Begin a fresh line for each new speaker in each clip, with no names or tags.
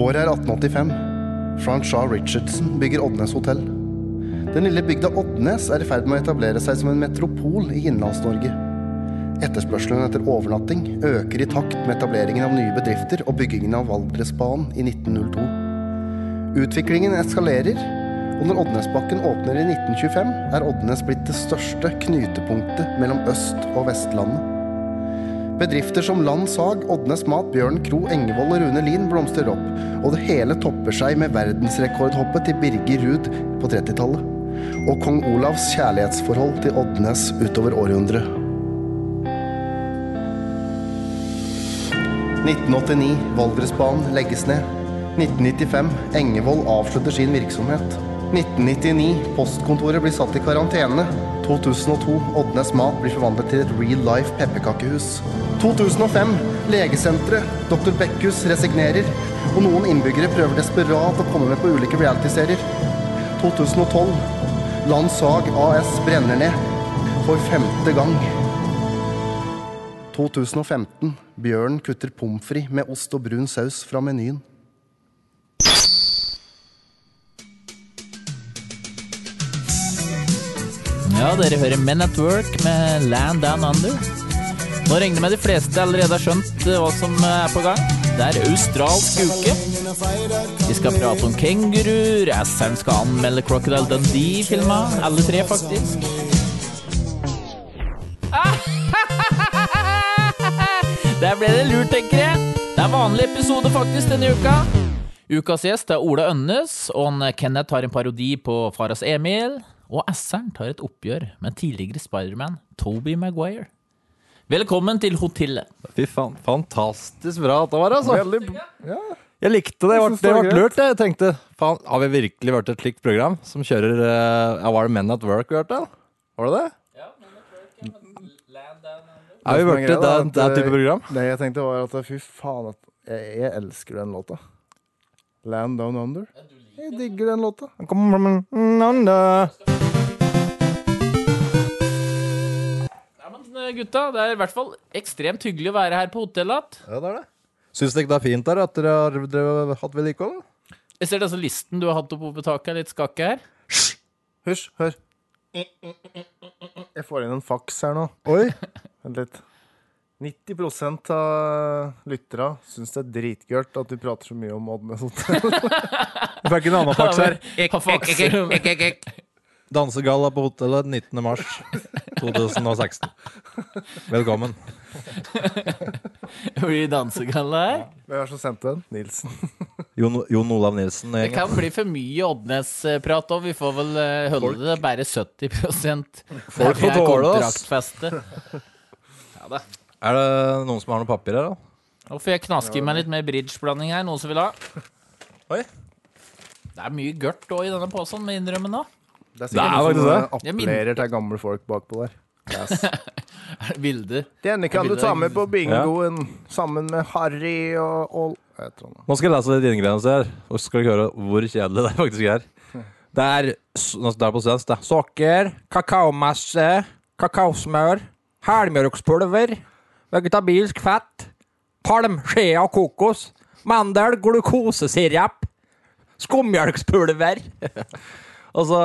Året er 1885. Franchard Richardson bygger Oddnes hotell. Den lille bygda Oddnes er i ferd med å etablere seg som en metropol i Innlands-Norge. Etterspørselen etter overnatting øker i takt med etableringen av nye bedrifter og byggingen av Valdresbanen i 1902. Utviklingen eskalerer, og når Oddnesbakken åpner i 1925, er Oddnes blitt det største knutepunktet mellom Øst- og Vestlandet. Bedrifter som Land Sag, Oddnes Mat, Bjørn Kro, Engevold og Rune Lien blomstrer opp, og det hele topper seg med verdensrekordhoppet til Birger Ruud på 30-tallet. Og kong Olavs kjærlighetsforhold til Oddnes utover århundret. 1989 Valdresbanen legges ned. 1995 Engevold avslutter sin virksomhet. 1999 Postkontoret blir satt i karantene. 2002 Oddnes Mat blir forvandlet til et real life pepperkakehus. 2005 Legesenteret. Dr. Bekkhus resignerer. Og noen innbyggere prøver desperat å komme med på ulike realityserier. 2012 Land Sag AS brenner ned. For femte gang. 2015. Bjørn kutter pommes frites med ost og brun saus fra menyen.
Ja, dere hører Men at Work med Land Down Under. Nå regner jeg med de fleste allerede har skjønt eh, hva som eh, er på gang. Det er australsk uke. Vi skal prate om kenguru, raceren skal anmelde Crocodile Dundee-filma. Alle tre, faktisk. Der ble det lurt, tenker jeg. Det er vanlig episode faktisk denne uka. Ukas gjest er Ola Ønnes, og han eh, Kenneth har en parodi på Faras Emil. Og Asseren tar et oppgjør med tidligere Spiderman Toby Maguire. Velkommen til hotellet.
Fy faen, fantastisk bra at det var, altså. Jeg likte det.
Jeg
Det
synes
ble,
det var
det ble lurt, jeg. Jeg tenkte faen, har vi virkelig vært et slikt program som kjører eh, ja, Var det Men at Work vi hørte? Var det det? Har vi
som er
vært
greia,
et
da,
det, det
at, eh,
type program?
Det jeg tenkte var at fy faen, at jeg, jeg elsker den låta. Land Down Under. Jeg digger den låta.
Kom from under.
Ja, men eh, gutta, det er i hvert fall ekstremt hyggelig å være her på hotellet.
Ja, det er det. Syns dere det er fint der at dere har drevet- hatt vedlikehold?
Jeg ser det altså listen du har hatt oppe på taket, er litt skakke her.
Hysj, hør. Jeg får inn en faks her nå.
Oi.
Vent litt. 90 av lytterne syns det er dritgørt at vi prater så mye om Oddnes Hotell.
Vi fikk en annen faks her.
Ha faks.
Dansegalla på hotellet 19. mars 2016. Velkommen.
Blir det dansegalla her?
Hvem er det som sendte den? Nilsen.
Jon, Jon Olav Nilsen.
Det kan bli for mye Oddnes-prat òg. Vi får vel eh, holde det bare 70
Folk
Det
får
er
tåle oss.
kontraktfeste.
Er det noen som har noe papir her, da?
Nå får jeg knaske i meg litt mer bridgeblanding her. Noen som vil ha?
Oi.
Det er mye gørt òg i denne posen, må jeg innrømme nå.
Det
Det er
er sikkert noen som
faktisk
eh,
Jeg
appellerer til gamle folk bakpå der.
Vilde.
Denne kan du ta med på bingoen sammen med Harry og Ol... Jeg tror han
Nå skal jeg lese litt ingredienser her, og så skal dere høre hvor kjedelig det faktisk er. Det er, s- nå- det er på svensk, det. Sukker, kakaomasse, kakaosmør, helmjølkspulver, vegetabilsk fett, palm, skjea og kokos, mandel, glukosesirup, skummjølkspulver. Altså,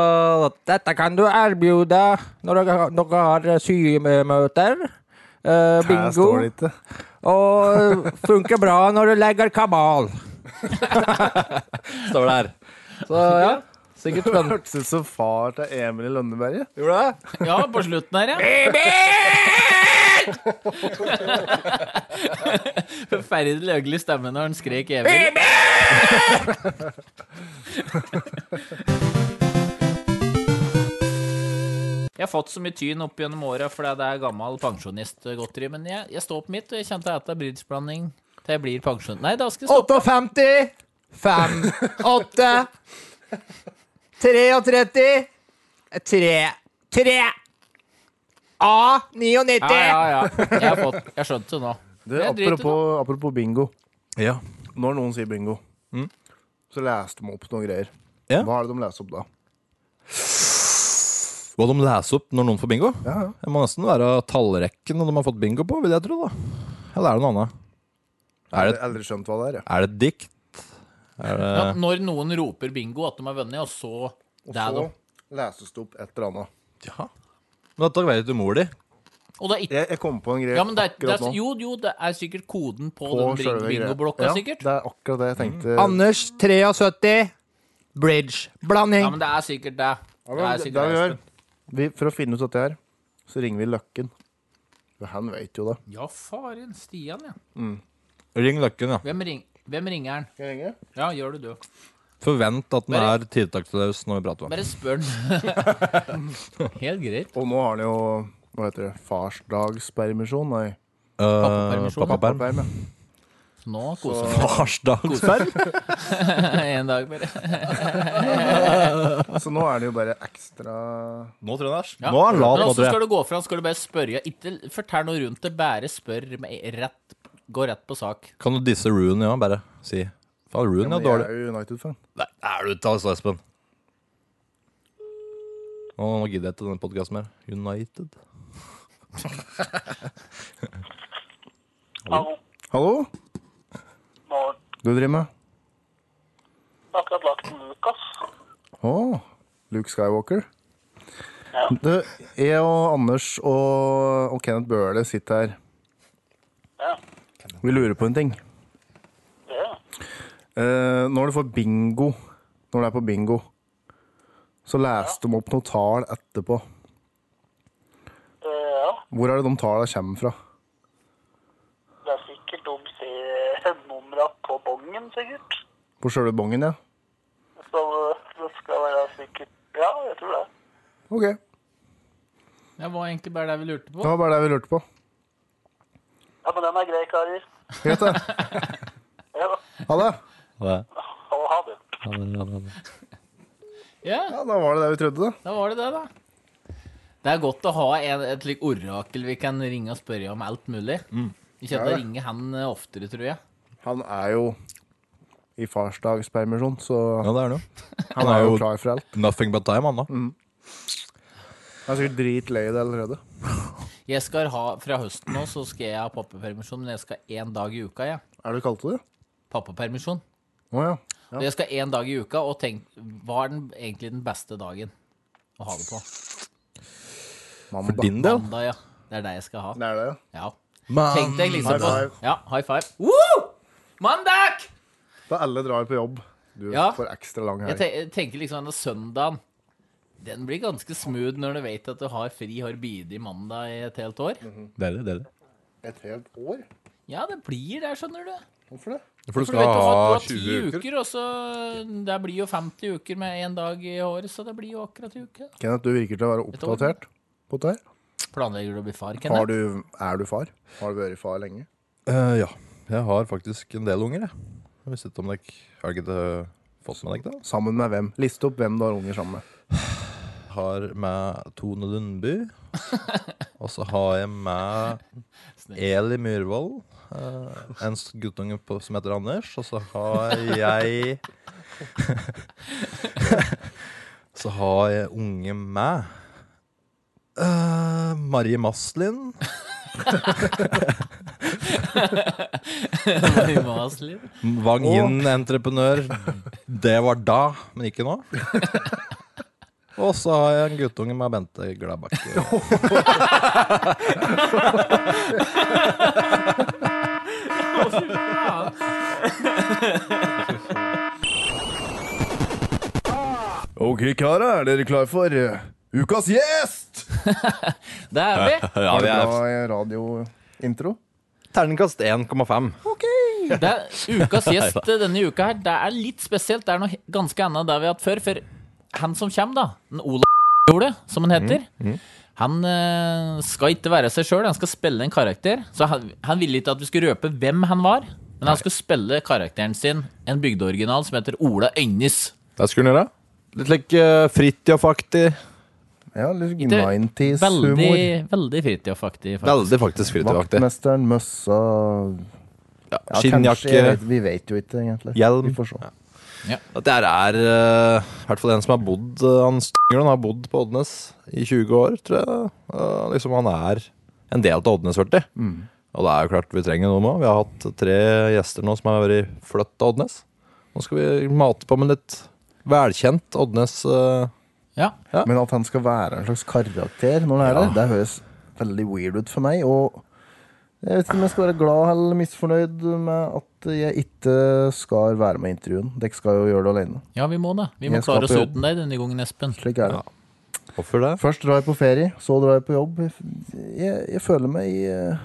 dette kan du erbjude når dere, dere har symøter, eh,
Her står det
bingo,
ikke.
og funker bra når du legger kabal. Står det her. Så ja, sikkert
Det
spennende.
hørtes ut som far til Emil i Lønneberget.
Gjorde det?
Ja, på slutten her, ja. Forferdelig øgelig stemme når han skrek Emil. Jeg har fått så mye tyn opp gjennom åra fordi det er gammel pensjonistgodteri, men jeg, jeg står på mitt, og jeg kjente at det er bridgeblanding til jeg blir pensjonist. Nei, da skal jeg stoppe.
58, 5, 8, 33, 3, 3, A, 99.
Ja, ja, ja. Jeg har fått Jeg skjønte det nå.
Du,
Jeg driter
apropos, apropos bingo.
Ja.
Når noen sier bingo,
Mm.
så leste de opp noen greier.
Ja.
Hva er det de leser opp da?
Hva de leser opp når noen får bingo?
Ja, ja.
Det må nesten være tallrekken de har fått bingo på, vil jeg tro da. Eller er det noe annet?
Jeg
Er
har
det,
aldri skjønt hva det er. jeg.
er det et dikt? Er det,
Ja, når noen roper bingo at de har vunnet, og så det er
Så
de.
leses det opp et eller annet.
ja. Men dette vet du mor di.
Og det er ikke
Jeg, jeg kom på en greie
ja, men det er, det
akkurat
er,
nå.
jo, jo, det er sikkert koden på,
på
den
selve
bing-
greia.
bingoblokka,
ja,
sikkert. Mm.
Det er akkurat det jeg tenkte.
Anders 73. Bridge. Blanding.
Ja, men det er sikkert det.
Ja,
Det
men
er
det-
sikkert
det vi
det.
gjør. Vi, for å finne ut dette her, så ringer vi Løkken. For han vet jo det.
Ja, faren. Stian, ja.
Ring løkken, ja.
Hvem, ring, hvem ringer han?
Skal jeg ringe?
Ja, gjør det, du.
Forvent at den
Bare-
er tiltaksløs når vi prater med den.
Bare spør han. Helt greit.
Og nå har han jo hva heter det, farsdagspermisjon. Nei,
Uh,
Pappapermisjon, da.
Pappaperm.
pappaperm. ja.
Nå koser han
Farsdagsperm.
seg en dag bare.
Så nå er det jo bare ekstra
Nå, Trønders.
Ja.
Nå er han lat,
Men
nå,
også
tror jeg.
skal du gå fra, skal du bare spørre. Ikke fortell noe rundt det, bare spør med rett, gå rett på sak.
Kan du disse Rooney òg, bare? Si. Faen, Rooney
Men
er
Jeg
dårlig.
er jo United-fan.
Nei, er du ute av Espen? Nå, nå gidder jeg ikke denne podkasten mer. United.
Hallo,
Hallo?
morgen.
Du driver med?
Akkurat lagt en Lukas.
Å, Luke Skywalker.
Ja.
Du, jeg og Anders og, og Kenneth Bøhle sitter her.
Ja,
Vi lurer på en ting.
det er
Eh, når du får bingo, når du er på bingo, så leste de opp noen tall etterpå.
det. er- Eh, Ja,
Hvor er det de tallene kommer fra?
det er sikkert de ser numra eh, på bongen, sikkert.
På sjølve bongen, ja?
Så det skal være sikkert Ja, jeg tror det.
OK.
Det var egentlig bare det vi lurte
Det
på.
var bare det vi lurte på.
Ja, men den er grei, karer.
Greit, det.
Ja,
Ha det.
ha ha det.
Ja,
Ja, da var det det vi trodde, da.
da var det det, da. Det er godt å ha en, et slikt orakel vi kan ringe og spørre om alt mulig. Ikke at
Mm. Ja,
jeg
det.
ringer han eh, oftere, tror jeg.
Han er jo i farsdagspermisjon, så
Ja, det er han jo.
han er jo
jo-
klar for alt.
Nothing but time, han da.
Mm.
Han er sikkert dritlei det allerede.
Jeg skal ha, Fra høsten nå så skal jeg ha pappapermisjon, men jeg skal én dag i uka. Ja.
Er det du kalte det?
Pappapermisjon.
Å ja.
Og Jeg skal én dag i uka, og tenk, hva er den, egentlig den beste dagen å ha det på?
Mandag.
Din del.
Mandag, ja. Det er det jeg skal ha.
Det er det, ja.
Ja.
Man-
Tenk deg liksom
High
på
five.
Ja, high five. Woo! Mandag!
Da alle drar på jobb. Du
Ja.
får ekstra lang
Jeg
helg.
te- jeg tenker liksom denne søndagen Den blir ganske smooth når du vet at du har fri har bidig mandag i et helt år.
Dere, dere.
Et helt år?
Ja, det blir det, skjønner du.
Hvorfor det?
For
For du
du vet
skal
du
ha
har
20 uker.
uker, og så Det blir jo 50 uker med én dag i året, så det blir jo akkurat en uke.
Kenneth, du virker til å være
år.
oppdatert på det her.
Planlegger du å bli far,
Har
Kenneth?
du, er du far? Har du vært far lenge?
Eh, ja. Jeg har faktisk en del unger, jeg. Jeg visste ikke om dere Har ikke det fått med dere det? altså?
Sammen med hvem? Liste opp hvem du har unger sammen med.
Har med Tone Lundby. Og så har jeg med Eli Myhrvold. eh, en s- guttunge på, som heter Anders. Og så har jeg Så har jeg unge med eh, Marie Maslin.
Har du?
Vang Yin-entreprenør. Det var da, men ikke nå. Og så har jeg en guttunge med Bente Gladbakke.
Ok, karer, er dere klare for eh, ukas gjest?
Det er vi.
Ja,
Var det bra eh, radiointro?
Terningkast 1,5.
Det er ukas gjest denne uka her. Det er litt spesielt. Det er noe he- ganske annet enn det vi har hatt før. For han som kommer, da, den Olav Ole, som han heter,
Mm,
han eh, skal ikke være seg sjøl. Han skal spille en karakter. Så han, han ville ikke at vi skulle røpe hvem han var, men han skulle spille karakteren sin, en bygdeoriginal som heter Ola Øynes.
Det skulle han gjøre. Litt like uh, Fridtjof-aktig.
Ja, litt
Ikke
90s-humor.
Veldig, veldig fritidaktig, faktisk.
Veldig faktisk Fridtjof-aktig.
Vaktmesteren, møssa
Ja,
ja, kanskje, jeg
Skinnjakke,
vet, Vi vet jo ikke, egentlig.
hjelm.
Vi får se.
At det her er eh, i hvert fall en som har bodd eh, Han Stengelen har bodd på Oddnes i 20 år, tror jeg. Eh, liksom Han er en del av Oddnes, hørte jeg.
Mm.
Og det er jo klart vi trenger noe med. Vi har hatt tre gjester nå som har vært flytt til Oddnes. Nå skal vi mate på med litt velkjent Oddnes. eh,
Men at han skal være en slags karakter når han er der, det høres veldig weird ut for meg. Og jeg vet ikke om jeg skal være glad eller misfornøyd med at jeg ikke skal være med i intervjuen. Dere skal jo gjøre det alene.
Ja, vi må det. Vi må
Jeg skal
klare oss
på jobb.
uten deg denne gangen, Espen.
Slik er det.
Hvorfor det?
Først drar jeg på ferie, så drar jeg på jobb. Jeg, jeg, jeg føler meg eh,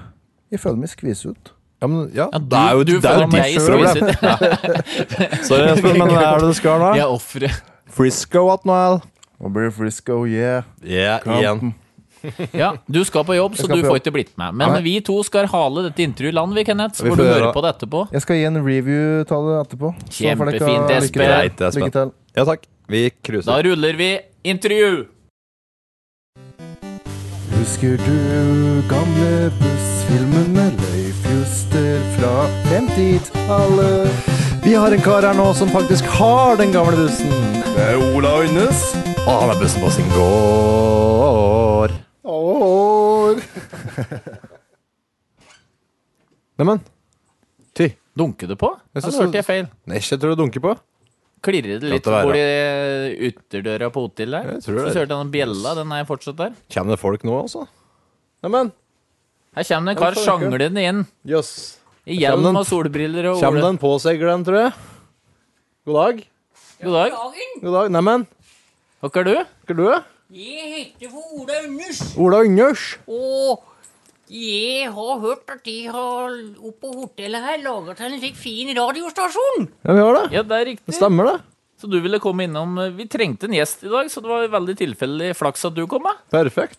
Jeg føler meg skviset ut.
Ja, men, ja.
Ja,
det er jo
du, du
det er jo
føler meg
ditt problem.
skviset.
Sorry, Espen, men hva er det du skal
Jeg
nå?
er offeret.
Frisco at noe?
Nå blir det Frisco, yeah.
Yeah, igjen.
Ja, du skal på jobb, så
skal
du får
på jobb.
ikke blitt med. Men vi to skal hale dette intervjuet i land, vi, Kenneth. Så
Vi
får du
får
høre
gjøre-
på det etterpå.
Jeg skal gi en review av det etterpå. Så får dere
Kjempefint,
ha
Espen.
Lykke
Greit, Espen.
til. Lykke til.
Ja takk. Vi cruiser.
Da ruller vi intervju!
Husker du gamle bussfilmen med Løyf Juster fra 50-tallet?
Vi har en kar her nå som faktisk har den gamle bussen.
Det er Ola Øynes.
Og han har bussen på sin gård.
År.
Neimen. Ty.
Dunker det på?
Jeg
Eller
synes-
hørte jeg feil?
Nei, ikke tror du dunker på.
Klirrer det litt
Godt å være.
hvor de ytterdøra på hotell der?
Jeg
Så
tror
hørte
det.
jeg den bjella, den er fortsatt der.
Kommer det folk nå, altså? Neimen.
Her kommer det en kar
det får jeg ikke.
sjanglende inn.
Jøss.
I
Her kommer
hjelm
den.
og solbriller og
Kommer
ole.
det en påsegler, den, tror jeg. God dag.
God dag.
God dag. Neimen.
Hva er du?
Hva er du?
Jeg heter for Ola Ønders,
Ola Anders.
og jeg har hørt at de har oppe på hotellet her laget en slik fin radiostasjon.
Ja, vi har det.
Ja, det er
Det
riktig.
stemmer, det.
Så du ville komme innom eh, Vi trengte en gjest i dag, så det var veldig tilfeldig flaks at du kom. da.
Perfekt.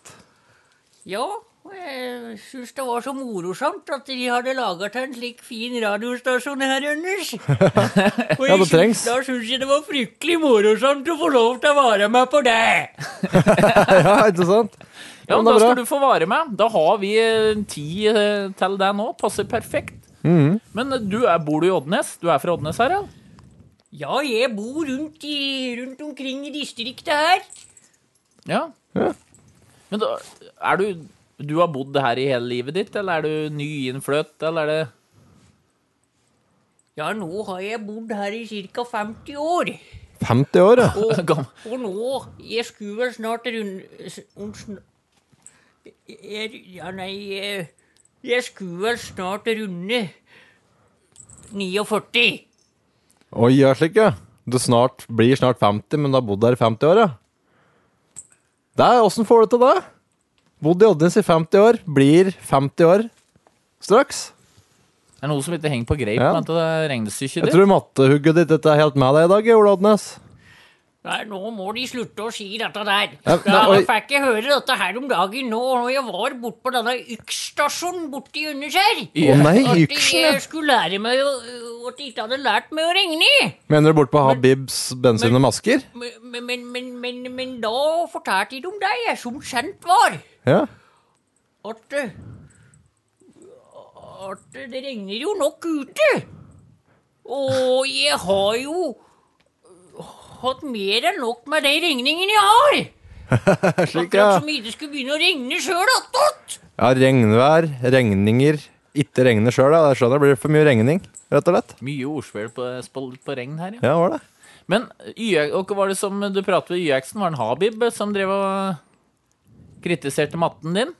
Ja, og jeg syns det var så morosomt at de hadde laget en slik fin radiostasjon her, Ønders. Og
Ja, det
jeg
trengs.
syns- Da syns jeg det var fryktelig morosomt å få lov til å være med på det.
Ja, ikke sant?
Ja,
men
Da
det Sånn er bra.
skal du få vare med. Da har vi eh, tid eh, til deg nå. Passer perfekt.
Mm-hmm.
Men eh, du er, bor du i Oddnes? Du er fra Oddnes, Harald?
Ja, jeg bor rundt, i, rundt omkring i distriktet her.
Ja.
Ja.
Men da, er du Du har bodd her i hele livet ditt, eller er du nyinnfløtt, eller er det
Ja, nå har jeg bodd her i ca. 50 år.
50 år, ja.
Gammel.
Og nå Jeg skulle vel snart rund... s- om sn- Jeg, ja, nei eh, Jeg skulle vel snart runde 49.
Oi, ja, slik, ja. Du snart, blir snart 50, men du har bodd her i 50 år, ja. Det er, hvordan får du til det? Bodd i Oddnes i 50 år, blir 50 år straks.
Det er noe som ikke henger på greip
Ja.
med at det regnestykket
Jeg
ditt.
tror mattehugget ditt ikke er helt med deg i dag, Ola Oddnes.
Nei, nå må de slutte å si dette der.
Ja,
Da
nei, oi.
fikk jeg høre dette her om dagen nå når jeg var borte på denne yksstasjonen borti Underskjær.
Å nei,
At
yksen, ja.
jeg skulle lære meg å, at de ikke hadde lært meg å regne.
Mener du bort på Habibs bensin og masker?
Men, men, men, men, men da fortalte de om deg, som kjent var.
Ja.
At eh, At det regner jo nok ute. Og jeg har jo hatt mer enn nok med de regningene jeg har.
Slik, ja.
Akkurat som ikke skulle begynne å regne sjøl attåt.
Ja, regnvær, regninger, ikke regne sjøl, ja. Jeg skjønner, det blir for mye regning, rett og slett.
Mye ordspill på, på, på regn her, ja.
Ja, var det.
Men YX, og hva var det som du pratet med YX-en? Var det en Habib som drev og kritiserte matten din?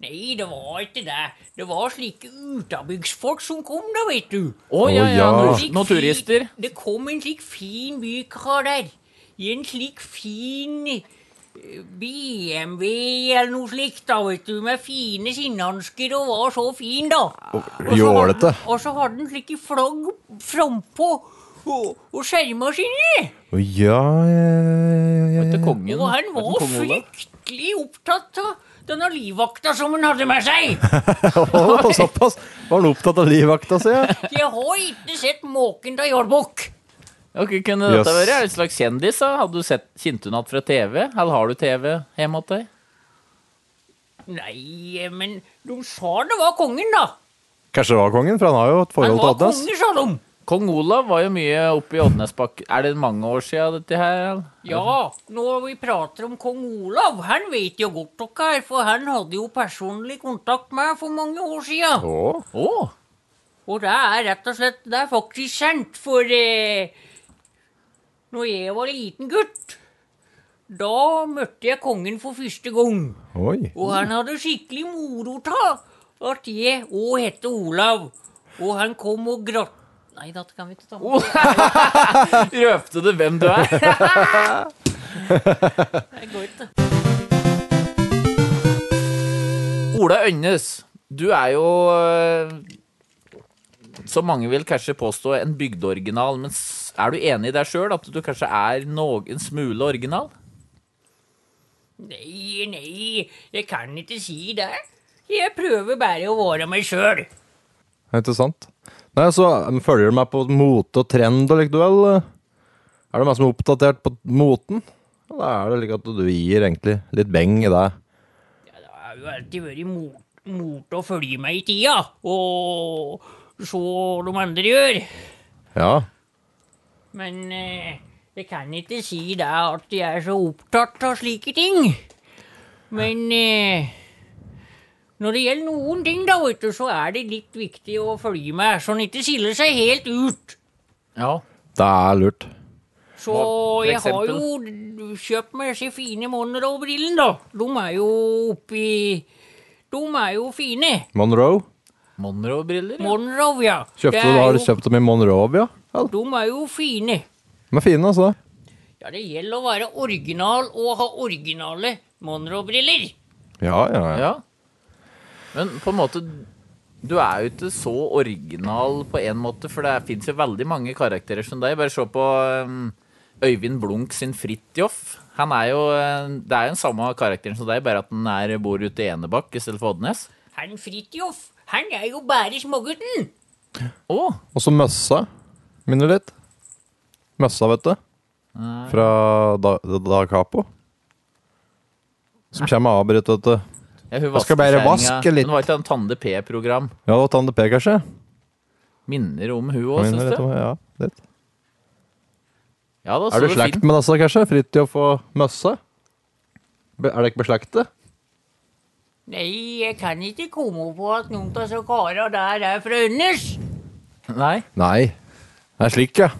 Nei, det var ikke det. Det var slike utabygdsfolk som kom, da, vet du.
Å ja,
Å,
ja.
ja.
nor-
slik
Naturister.
Fin, det kom en slik fin bykar der. I en slik fin eh, BMW eller noe slikt, da, vet du. Med fine skinnhansker og var så fin, da. Og så
Jålete.
hadde- Og så hadde han slike flagg frampå. Og, og skjermer sine!
Å, ja, ja, ja, ja,
Til
ja.
kongen.
Og han
Vet du,
var
kong Olav?
fryktelig opptatt av denne livvakta som han hadde med seg!
Å, såpass! Var han opptatt av livvakta si? Ja.
Jeg har ikke sett maken til jålbukk!
Ja, hva kunne dette
Jøss.
vært? Er det en slags kjendis? da? Hadde du sett, Kjente hun igjen fra TV? Eller har du TV hjemme hos deg?
Nei, men de sa det var kongen, da.
Kanskje det var kongen, for han har jo et
Han
forhold til
var
Oddnes.
konge, sa de.
Kong Olav var jo mye oppe i Oddnesbakken. Er det mange år siden dette her? eller?
Ja, når vi prater om kong Olav, han vet jo godt dere er, for han hadde jo personlig kontakt med for mange år siden.
Å,
Å!
Og det er rett og slett Det er faktisk sant, for eh, når jeg var liten gutt, da møtte jeg kongen for første gang.
Oi.
Og han hadde skikkelig moro av at jeg òg het Olav. Og han kom og grat... Nei, dette kan vi ikke ta med.
Røpte du hvem du er?
Det går ikke.
Ola Øynes, du er jo eh, som mange vil kanskje påstå en bygdeoriginal, men s- er du enig i deg sjøl at du kanskje er noen smule original?
Nei, nei, jeg kan ikke si det. Jeg prøver bare å være meg sjøl.
Det er Interessant. Nei, så um, Følger du meg på mote og trend allikevel? Er du meg som er oppdatert på moten? Eller er det like at du gir egentlig litt beng i deg?
Jeg har jo alltid vært mot, mot å følge meg i tida, og se hva de andre gjør.
Ja.
Men eh, jeg kan ikke si det at jeg er så opptatt av slike ting. Men eh, når det gjelder noen ting, da, vet du, så er det litt viktig å følge med, så en ikke skiller seg helt ut.
Ja.
Det er lurt.
Så
Hva- for
jeg har
eksempel?
jo d- kjøpt meg disse fine Monroe-brillene, da. De er jo oppi De er jo fine.
Monroe?
Monroe-briller? Ja.
Monroe, ja. Det
Kjøpte
er
du, har du
jo-
kjøpt dem i Monrovia? Ja,
De er jo fine.
de er fine, altså.
Ja, det gjelder å være original og ha originale Monroe-briller.
Ja, ja, ja.
ja. Men på en måte Du er jo ikke så original på en måte, for det fins jo veldig mange karakterer som deg. Bare se på um, Øyvind Blunk sin Fridtjof. Han er jo um, Det er jo den samme karakteren som deg, bare at han er, bor ute i Enebakk i stedet for Oddnes.
Han Fridtjof, han er jo bare smågutten.
Å!
Og så møssa. Minner litt. Møssa, vet du. Fra Da, da Capo. Som kommer og avbryter, vet du.
Ja, hun
Jeg skal bare
vaskekjerringa.
vaske litt.
Hun var ikke en Tande P-program.
Ja, det var Tande P, kanskje?
Minner om hun òg,
Minner
syns
litt
du?
om- Ja, litt.
Ja, da, så
Er du
det
slekt
fint.
med disse, kanskje? Fridtjof og Møsse? Be- Er dere ikke beslektet?
Nei, jeg kan ikke komme på at noen av så kara der er fra Ønnes.
Nei.
Nei. Det er slik, ja.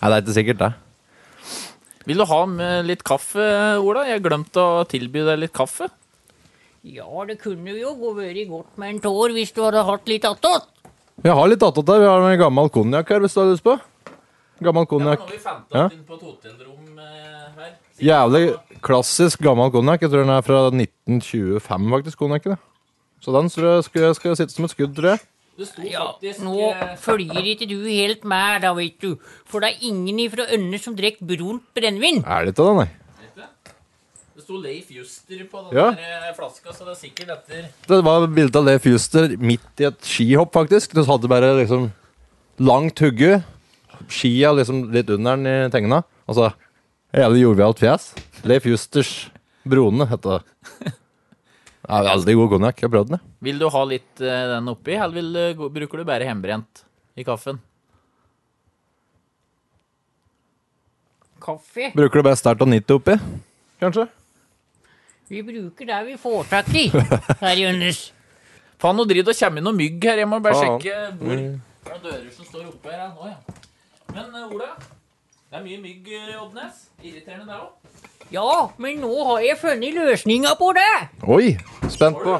Nei, det er ikke sikkert, det.
Vil du ha med litt kaffe, Ola? Jeg glemte å tilby deg litt kaffe.
Ja, det kunne jo gå vært godt med en tår hvis du hadde hatt litt attåt.
Vi har litt attåt her. Vi har en gammel konjakk her, hvis du har lyst på. Gammel konjakk.
vi fant
Ja.
inn på et hotellrom her.
Jævlig klassisk gammel konjakk. Jeg tror den er fra 1925, faktisk, konjakken. ja. Så den tror jeg skal, skal sitte som et skudd, tror jeg.
Det sto eh,
Ja, nå følger ikke du helt med, da, vet du. For det er ingen ifra Ønnes som drikker brunt brennevin.
Er det ikke det, nei?
Det sto Leif Juster på den
Ja.
der eh, flaska, så det er sikkert etter
Det var et bilde av Leif Juster midt i et skihopp, faktisk. Du hadde bare liksom langt hugge, skia liksom litt under den i tegna. Altså hele jovialt fjes. Leif Justers Brone heter det. Det er Veldig god konjakk. Jeg har prøvd den. jeg.
Vil du ha litt eh, den oppi, eller vil, du gå- bruker du bare hjemmebrent i kaffen?
Kaffe.
Bruker du bare sterkt og 90 oppi? Kanskje?
Vi bruker det vi får tak i her i Ønnes.
Faen, nå driver det og kommer inn noe mygg her. Jeg må bare
Faen.
sjekke hvor Det er noen dører som står oppe her. ja. Å, ja. Men eh, Ola, det er mye mygg, eh, Oddnes. Irriterende det òg.
Ja, men nå har jeg funnet løsninga på det.
Oi! Spent på.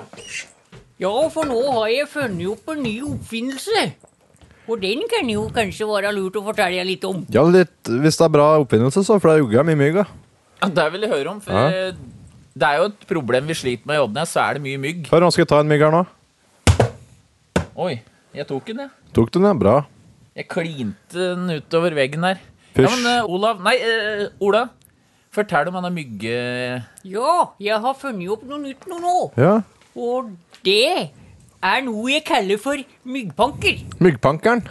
Ja, for nå har jeg funnet opp en ny oppfinnelse. Og den kan jo kanskje være lurt å fortelle litt om.
Ja, litt, hvis det er bra oppfinnelse, så. For det er jogga mye mygg. da.
Ja, det vil jeg høre om, for
Ja.
eh, det er jo et problem vi sliter med i Oddnes, så er det mye mygg.
Hør, nå skal jeg ta en mygg her nå.
Oi, jeg tok den, jeg.
Tok du den? ja? Bra.
Jeg klinte den utover veggen der. Ja,
Push.
men eh, Olav Nei, eh, Ola. Fortell om han har mygge...
Ja, jeg har funnet opp noe nytt nå nå.
Ja.
Og det er noe jeg kaller for myggpanker.
Myggpankeren.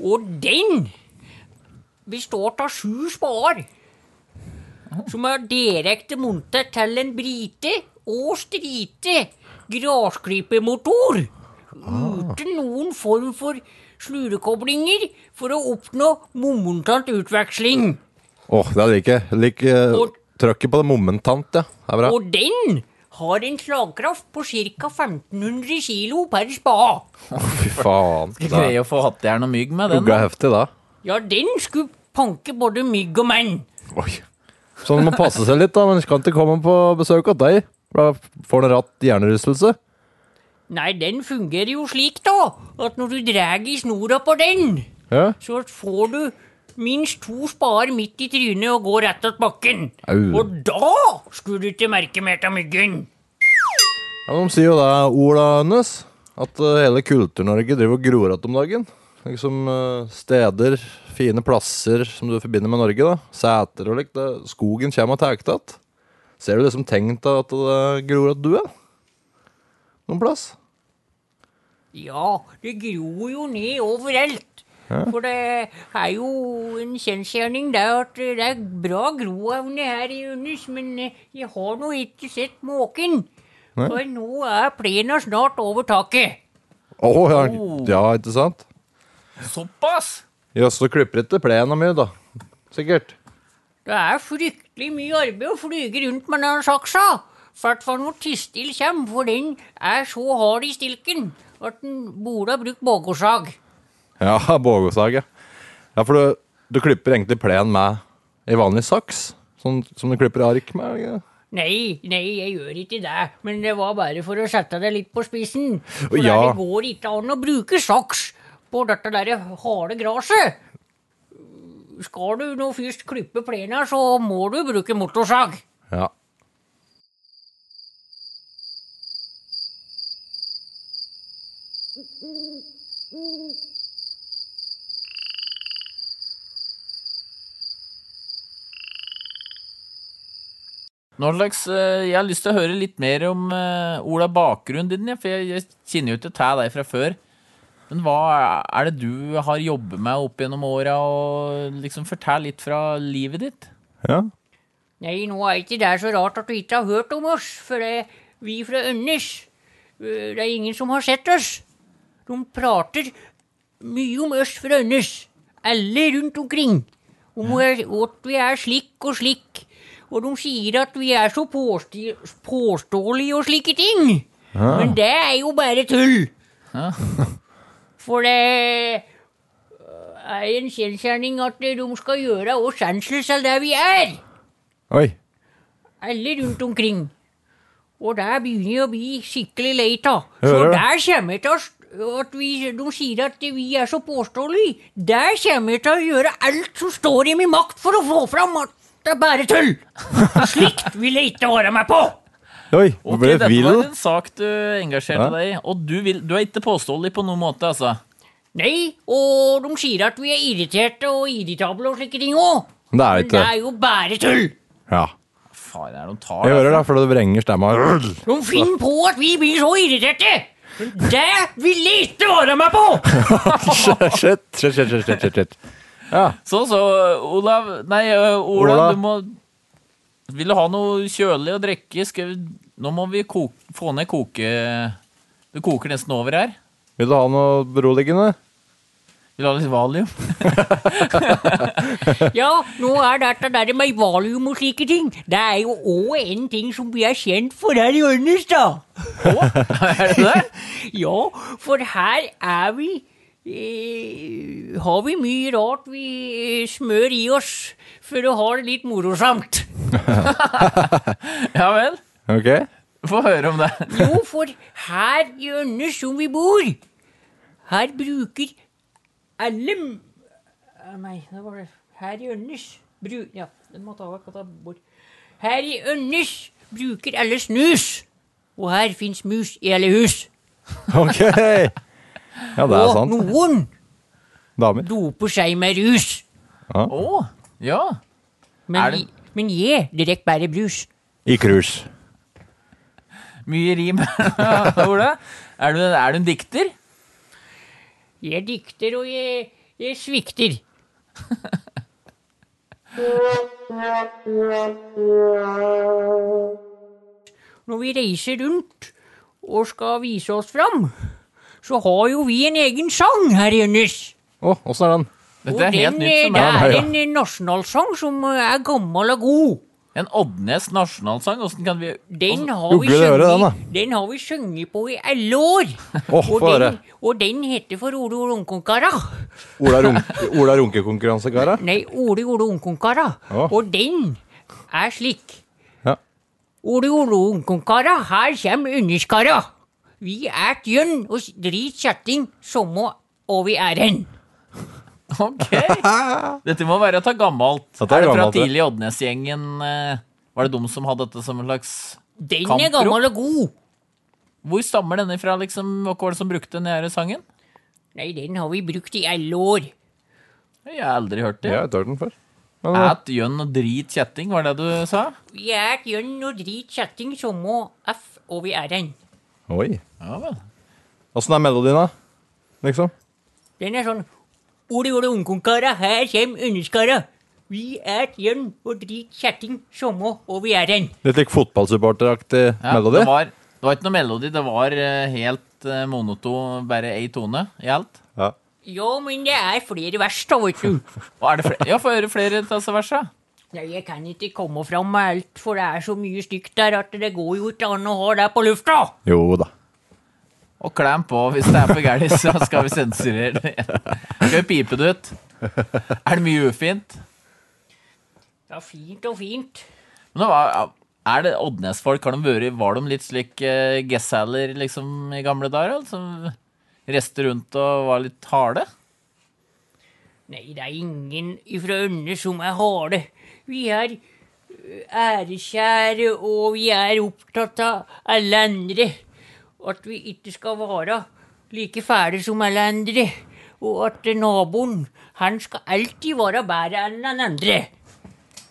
Og den består av sju spader. Som er direkte montert til en brite og strite gressklippermotor. Uten noen form for slurekoblinger for å oppnå momentant utveksling.
Åh, det liker jeg. eh, Jeg liker
Og-
trøkket på det momentant, ja. Det er bra.
Og den har en slagkraft på ca. 1500 kilo per spa.
Fy faen.
Skal greie å få hattejern og mygg med den.
Ugga
da.
heftig, da.
Ja, den skulle panke både mygg og menn.
Oi. Så man må passe seg litt, da. Man kan ikke komme på besøk hos deg. Da får man ratt hjernerystelse.
Nei, den fungerer jo slik, da, at når du drar i snora på den,
Ja.
så får du minst to spader midt i trynet og går rett til bakken.
Au.
Og da skulle du ikke merke mer av myggen.
Ja, men De sier jo det, Ola Ønnes, at eh, hele Kultur-Norge driver og gror att om dagen. Liksom eh, steder, fine plasser som du forbinder med Norge. da Sæter og likt. det- Skogen kommer og tar igjen. Ser du liksom tenkt at det gror att du er? Noen plass?
Ja, det gror jo ned overalt. For det er jo en kjensgjerning det at det er bra groavne her i Unis, men eh, jeg har nå ikke sett måken. For nå er plena snart over taket.
Å ja.
Oh.
ja, ikke sant?
Såpass!
Jøss, så klipper ikke plenen mye, da. Sikkert.
Det er fryktelig mye arbeid å flyge rundt med den saksa. Hvert fall når tistil kommer, for den er så hard i stilken at den burde ha brukt bågåsag.
Ja, bågesag, ja. Ja, for du, du klipper egentlig plenen med ei vanlig saks? Sånn som du klipper ark med? ikke?
Nei, nei, jeg gjør ikke det, men det var bare for å sette deg litt på spissen. For
Ja.
det går ikke an å bruke saks på dette der harde graset. Skal du nå først klippe plena, så må du bruke motorsag.
Ja.
Nå slags, eh, jeg har lyst til å høre litt mer om eh, Ola, bakgrunnen din, ja, for jeg, jeg kjenner jo ikke til deg fra før. Men hva er det du har jobbet med opp gjennom åra, og liksom fortell litt fra livet ditt?
ja.
Nei, nå er ikke det så rart at du ikke har hørt om oss, for det, vi fra Ønnes øh, Det er ingen som har sett oss. De prater mye om oss fra Ønnes, alle rundt omkring. Om hvor- at vi er slik og slik. Og de sier at vi er så påsti- påståelige og slike ting. Men det er jo bare tull. For det øh, er en kjensgjerning at de skal gjøre oss senseløse av det vi er
Oi.
alle rundt omkring. Og der begynner jeg å bli skikkelig lei av. Så
Hører du?
der kommer til oss at vi, De sier at vi er så påståelige. Der kommer jeg til å gjøre alt som står i min makt for å få fram at det er bare tull! Slikt vil jeg ikke være med på!
Oi,
Ok,
ble
dette
vill.
var en sak du engasjerte
Ja.
deg i, og du, vil, du er ikke påståelig på noen måte, altså.
Nei, og de sier at vi er irriterte og irritable og slike ting òg.
Det er
Men det
ikke
er jo bare tull!
Ja.
Faen, er det de tar
Jeg
det?
hører det, for det vrenger stemma.
De finner på at vi blir så irriterte! Men det vil jeg ikke være med på!
Shit, shit, shit, shit, shit, shit, shit.
Så, Sånn, så, Olav Nei, ø, Ola,
Ola.
du må Vil du ha noe kjølig å drikke? Skal vi, nå må vi koke, få ned koke... Det koker nesten over her.
Vil du ha noe beroligende?
Vil du ha litt valium?
Ja, nå er dette der med valium og slike ting. Det er jo òg en ting som vi er kjent for her i Ørnes, da.
Er det det?
Ja, for her er vi eh, Har vi mye rart vi eh, smør i oss for å ha det litt morosamt.
Ja vel?
Ok.
Få høre om det.
Jo, for her i Ørnes som vi bor, her bruker alle m- Eh, Nei, det var det. Her i Ørnes bru... Ja, den må ta vekk og ta bort. Her i Ørnes bruker alle snus. Og her fins mus i alle hus.
Ok. Ja, det er
Og
sant.
noen
Damer.
doper seg med rus.
Å, ja. Er
Men,
det-
vi- men jeg drikker bare brus.
I cruise.
Mye rim. Ola, er du, er du en dikter?
Jeg dikter, og jeg, jeg svikter. Når vi reiser rundt og skal vise oss fram, så har jo vi en egen sang her, Jønnes.
Å, åssen er den?
Dette er helt
den, eh,
nytt for
det
meg.
er en nasjonalsang som er eh, gammel og god.
En Oddnes nasjonalsang, åssen kan vi
Den har,
Jo,
vi
gøy å høre den, da.
sunget, den har vi sunget på i alle år.
Åh,
og,
få høre.
den, og den heter for Ole Ole Ungkonkara.
Ola, runke, Ola runkekonkurranse, kara.
Nei, Ole Ole Ungkonkara.
Åh.
Og den er slik.
Ja.
Ole Ole Ungkonkara, her kommer underskara. Vi er tjønn og s- drit kjetting, somme og vi er hen.
Ok. Dette må være å ta gammelt.
Dette er
er, det fra
gammelt, det.
tidlig Oddnes-gjengen? eh, Var det de som hadde dette som en slags
Den
Kampro.
er gammel og god.
Hvor stammer denne fra, liksom? Og hva var det som brukte den her sangen?
Nei, den har vi brukt i alle år.
Jeg har aldri hørt det.
Ja, jeg tar den før.
Ät gjønn og drit kjetting, var det du sa?
Vi er tjønn og drit kjetting, somme f og vi er hen.
Oi.
Ja vel.
Åssen er melodien, da? Liksom?
Den er sånn Ole, ole, ungkongkara, her kjem underskara. Vi er jevn og drit kjetting, somme og vi er en.
Litt lik fotballsupporteraktig
Ja,
melodi?
Det var, det var ikke noe melodi, det var eh, helt eh, monoton, bare ei tone i alt.
Ja.
Ja, men det er flere vers, da, vet du.
Og er det flere? Ja, få høre flere av disse versa.
Nei, jeg kan ikke komme fram med alt, for det er så mye stygt der at det går jo ikke an å ha det på lufta.
Jo da.
Og klem på hvis det er for gærent, så skal vi sensurere det. Skal vi pipe det ut? Er det mye ufint?
Ja, fint og fint.
Men det var, er det Oddnes-folk? Har de vært Var de litt slik uh, gessaler liksom, i gamle dager? Altså, reste rundt og var litt harde?
Nei, det er ingen ifra Ønne som er harde. Vi er ø, ærekjære, og vi er opptatt av alle andre. At vi ikke skal være like fæle som alle andre. Og at ø, naboen, han skal alltid være bedre enn den andre.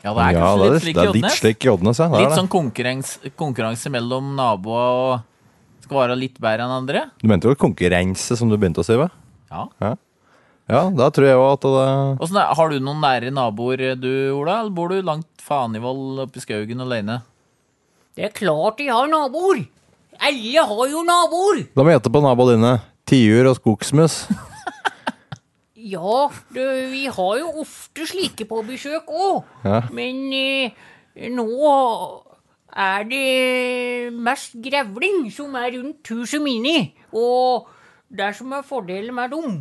Ja, det er kanskje litt slik i Oddnes.
slik i Oddnes, ja. Det er
Litt
det.
sånn konkurranse, konkurranse mellom naboer og skal være litt bedre enn andre.
Du mente jo konkurranse, som du begynte å si? Hva?
Ja.
Ja, da tror jeg jo at det
Og sånn er- har du noen nære naboer, du, Ola? Eller bor du langt fanivold oppi skaugen alene?
Det er klart de har naboer. Alle har jo naboer.
Da må jeg gjette på naboene dine. Tiur og skogsmus.
Ja, det, vi har jo ofte slike på besøk òg.
Ja.
Men eh, nå er det mest grevling som er rundt huset mine. Og det som er fordelen med dem,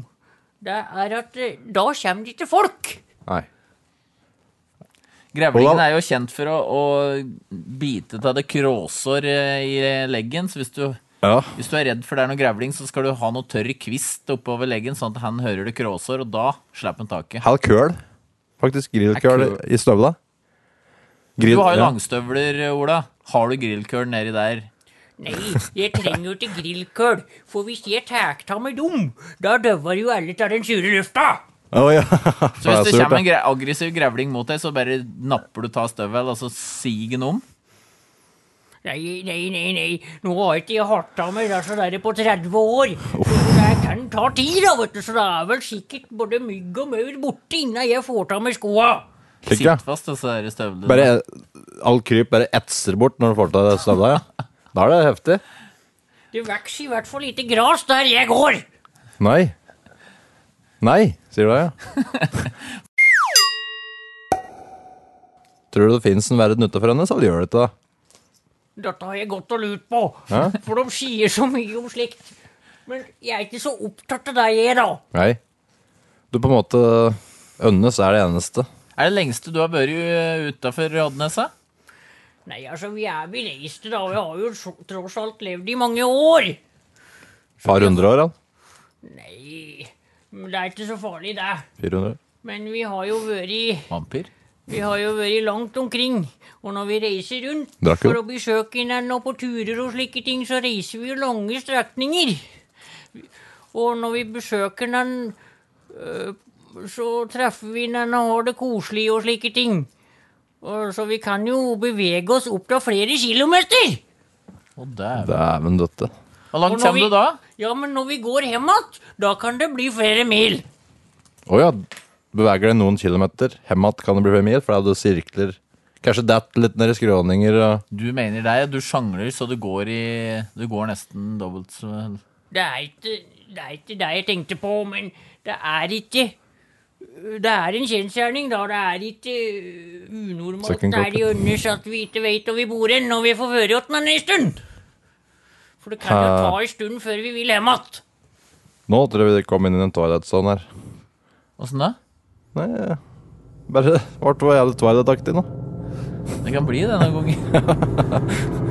det er at eh, da kommer det ikke folk.
Nei.
Grevlingen
Ola?
er jo kjent for å, å bite til det kråsår eh, i leggen, så hvis du,
Ja.
hvis du er redd for det er noe grevling, så skal du ha noe tørr kvist oppover leggen, sånn at han hører det kråsår, og da slipper han taket.
Hal køl. Faktisk grillkøl
Er køl.
i støvla.
Du
Grill,
har jo
ja.
langstøvler, Ola. Har du grillkøl nedi der?
Nei, jeg trenger jo ikke grillkøl, for hvis jeg tar av meg dem, da døver jo alle av den sure lufta.
Å, ja.
Så hvis det
surt,
kommer en
ja.
gre aggressiv grevling mot deg, så bare napper du ta støvel, og så siger den om?
Nei, nei, nei, nei. Nå har ikke jeg hatt av meg det så der på 30 år. Så det kan ta tid, da, vet du. Så det er vel sikkert både mygg og maur borte innen jeg får av meg skoa.
Slik, ja.
Sitt fast, og så er det støvlene.
Bare all kryp bare etser bort når du får til støvla, ja. Da er det heftig.
Det vokser i hvert fall lite gras der jeg går.
Nei. Nei, sier du det, ja. Tror du det finnes en verden utenfor hennes, eller gjør det ikke det?
Dette har jeg gått og lurt på,
Ja.
for de sier så mye om slikt. Men jeg er ikke så opptatt av det jeg er, da.
Nei. Du på en måte Ønnes er det eneste.
Er det lengste du har vært utafor Oddnesa?
Nei, altså, vi er bereiste, da. Vi har jo så- tross alt levd i mange år.
Par hundre år, han.
Nei, men det er ikke så farlig, det.
400.
Men vi har jo vært i
Vampyr?
Vi har jo vært langt omkring, og når vi reiser rundt
Drakk jo.
for å besøke hverandre og på turer og slike ting, så reiser vi jo lange strekninger. Og når vi besøker hverandre, øh, så treffer vi hverandre og har det koselig og slike ting. Og så vi kan jo bevege oss opp til flere kilometer.
Å, dæven.
Dæven døtte.
Hvor
Og
langt
når
kommer
vi-
du da?
Ja, men når vi går hjem igjen, da kan det bli flere mil.
Å ja. Beveger deg noen kilometer. Hemat kan det bli mil, for da du sirkler Kanskje datt litt ned i skråninger og
Du mener deg, du sjangler så du går i Du går nesten dobbelt så
Det er ikke det, er ikke det jeg tenkte på, men det er ikke Det er en kjensgjerning, da. Det er ikke eh, unormalt
Second
der i Ønnes at vi ikke veit hvor vi bor hen, og vi får høre åtten en stund. For det kan jo
Eh.
ta en stund før vi vil hjem igjen.
Nå tror jeg vi kom inn i en twilight sånn her.
Åssen da?
Nei, bare ble det jævlig twilight-aktig nå.
Det kan bli det denne gangen.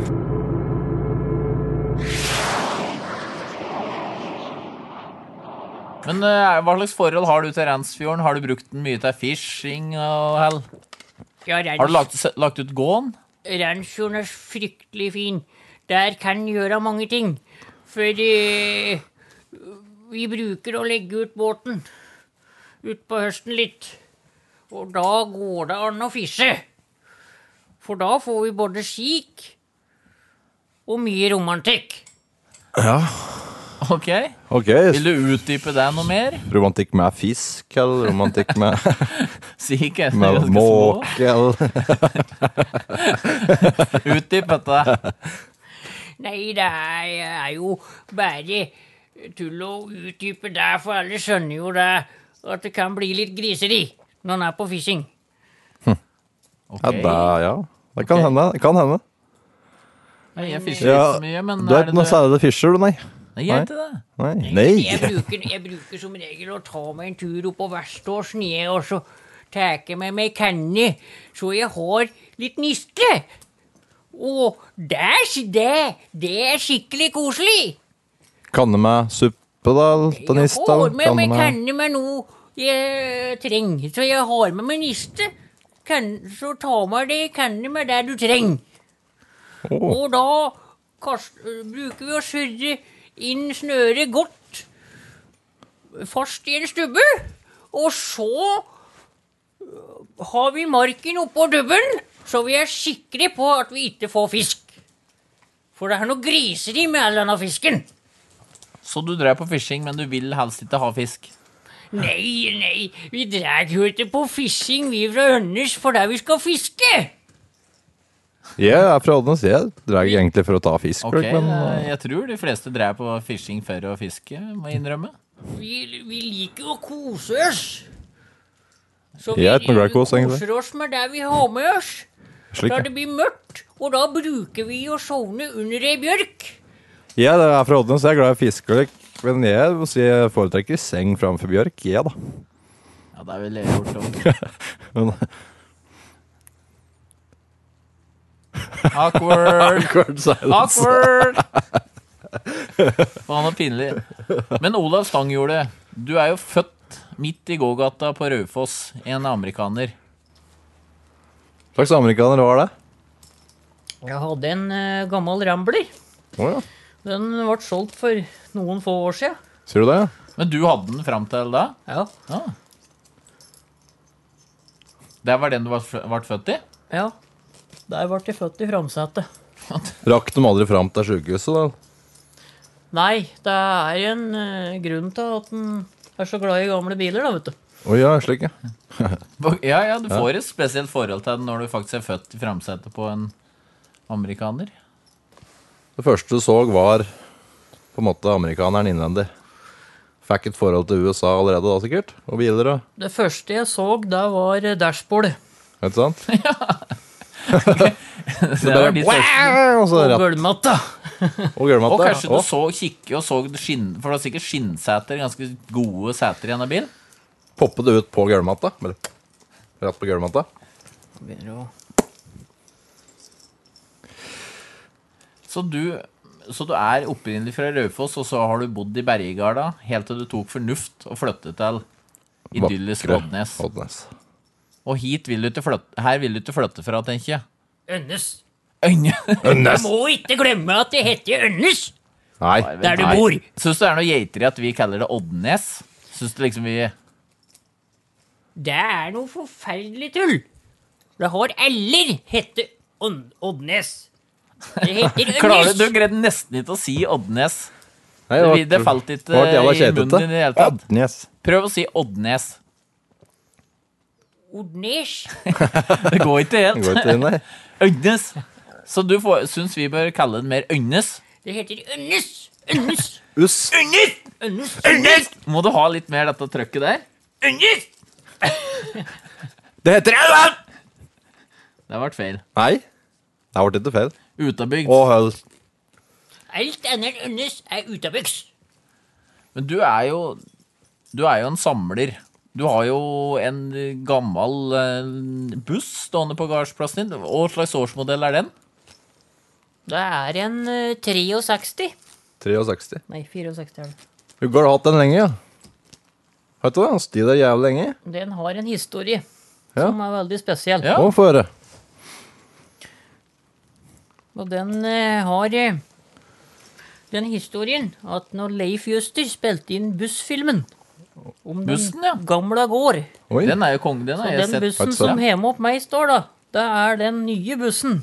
Men eh, hva slags forhold har du til Rensfjorden? Har du brukt den mye til fishing og hell?
Ja,
Har du
Rens,
lagt, lagt ut gåen?
Rensfjorden er fryktelig fin. Der kan en gjøre mange ting. For eh, vi bruker å legge ut båten utpå høsten litt. Og da går det an å fiske. For da får vi både skik og mye romantikk.
Ok.
Ok,
Vil du utdype det noe mer?
romantikk med fisk, eller romantikk med,
Si ikke. det er
med
ganske små.
måke, eller
Utdyp dette.
Nei, det er, er jo bare tull å utdype det, for alle skjønner jo det at det kan bli litt griseri når en er på fishing.
Ja,
Ok.
det, ja. det kan hende. Det kan hende.
Nei, Jeg fisher ikke
Ja,
så mye, men
Du er
er
ikke noe
det
særlig fisher, du, nei.
Nei, jeg er ikke det.
Nei.
Jeg
nei.
bruker, jeg bruker som regel å ta meg en tur opp på Verståsen, jeg, og så tar jeg med meg kanne, så jeg har litt niste. Og det, er sk- det, det er skikkelig koselig.
Kan det med suppe, da? eller til
Jeg
niste, eller?
har med
Kan det
meg
med-
kanne med noe jeg trenger, så jeg har med meg niste. Kan, så ta med deg kanne med det du trenger. Og da kast, bruker vi å surre inn snøret godt fast i en stubbe. Og så øh, har vi marken oppå dubben, så vi er sikre på at vi ikke får fisk. For det er noe griseri med all denne fisken.
Så du drar på fishing, men du vil helst ikke ha fisk?
Nei, nei, vi drar jo ikke på fishing, vi fra Ønnes, for der vi skal fiske.
Jeg er fra Oddnes. Jeg drar egentlig for å ta fisk.
Ok,
men,
eh, jeg tror de fleste drar på fishing for å fiske, må jeg innrømme.
Vi, vi liker jo å kose oss. Så
Jeg er ikke noe glad i kos, egentlig.
koser oss med det vi har med oss.
slik,
Da
ja.
det blir mørkt, og da bruker vi å sovne under ei bjørk.
Jeg er fra Oddnes, jeg er glad i fisk. og lik, Men jeg må si jeg foretrekker seng framfor bjørk, jeg, da.
Ja, det ville jeg gjort òg.
Men,
Awkward.
Silence.
Awkward! Faen, så pinlig. Men Olav Stanghjordet, du er jo født midt i gågata på Raufoss, en amerikaner.
Hva slags amerikaner var det?
Jeg hadde en eh, gammel rambler.
Å ja.
Den ble solgt for noen få år siden.
Sier du det?
Men du hadde den fram til da?
Ja.
Ja. Det var den du var fø- ble født i?
ja. Der ble jeg født i Framsetet.
Rakk de aldri fram til sjukehuset, da?
Nei, det er en eh, grunn til at en er så glad i gamle biler, da, vet du.
Å ja, slik, ja.
Ja, ja, du får et spesielt forhold til den når du faktisk er født i framsetet på en amerikaner.
Det første du så, var på en måte amerikaneren innvendig. Fikk et forhold til USA allerede da, sikkert. Og biler og
Det første jeg så, det var eh, dashbordet
Ikke sant?
Det sånn- var ditt første-
Og så
og
rett
gulvmatta.
og gulvmatte.
Og kanskje du
Å,
så kikke og så skinn... For det var sikkert skinnseter, ganske gode seter i en bil.
Poppet det ut på gulvmatta. Bare Rett på gulvmatta.
Så du, så du er opprinnelig fra Raufoss, og så har du bodd i Bergegarda helt til du tok fornuft og flyttet til idyllisk
Vakre
Oddnes.
Oddnes.
Og hit vil du ikke flytte, her vil du ikke flytte fra, tenker jeg.
Ønnes.
Øyne.
Jeg må ikke glemme at det heter Ønnes
Nei.
der du
Nei.
bor.
Syns du det er noe geitere at vi kaller det Oddnes? Syns du liksom vi
Det er noe forferdelig tull. Det har eller hette Ånd- Oddnes. Det heter
Klarer du, du
Ønnes.
greide nesten ikke å si Oddnes.
Nei,
Det,
var-
det falt ikke
var et jævla
i munnen
kjedete.
din i det hele tatt.
Oddnes.
Prøv å si Oddnes.
Oddnes.
Det går ikke
Det
helt.
Går ikke inn, nei.
Øynes. Så du får- syns vi bør kalle den mer Øynes?
Det heter Ønnes. Ønnes.
Uss.
Ønnes.
Må du ha litt mer dette trøkket der?
Ønnes.
Det heter Elven!
Det ble feil.
Nei, det ble ikke feil.
Utabygd.
Og høl.
Alt annet annet er utabygds.
Men du er jo Du er jo en samler. Du har jo en gammel eh, buss stående på gardsplassen din. Hva slags årsmodell er den?
Det er en eh, 63.
63.
Nei, 64 er det.
Huggo har hatt den lenge, ja. Vet du det? Han sti der jævlig lenge.
Den har en historie
Ja.
som er veldig spesiell.
Ja.
Må få høre.
Og den eh, har eh, den historien at når Leif Juster spilte inn bussfilmen om den
Bussen, ja.
gamla gård
Oi.
Den er jo kongen din.
Og
har jeg
den
sett.
bussen
faktisk,
som
ja.
hjemme opp meg står, da, det er den nye bussen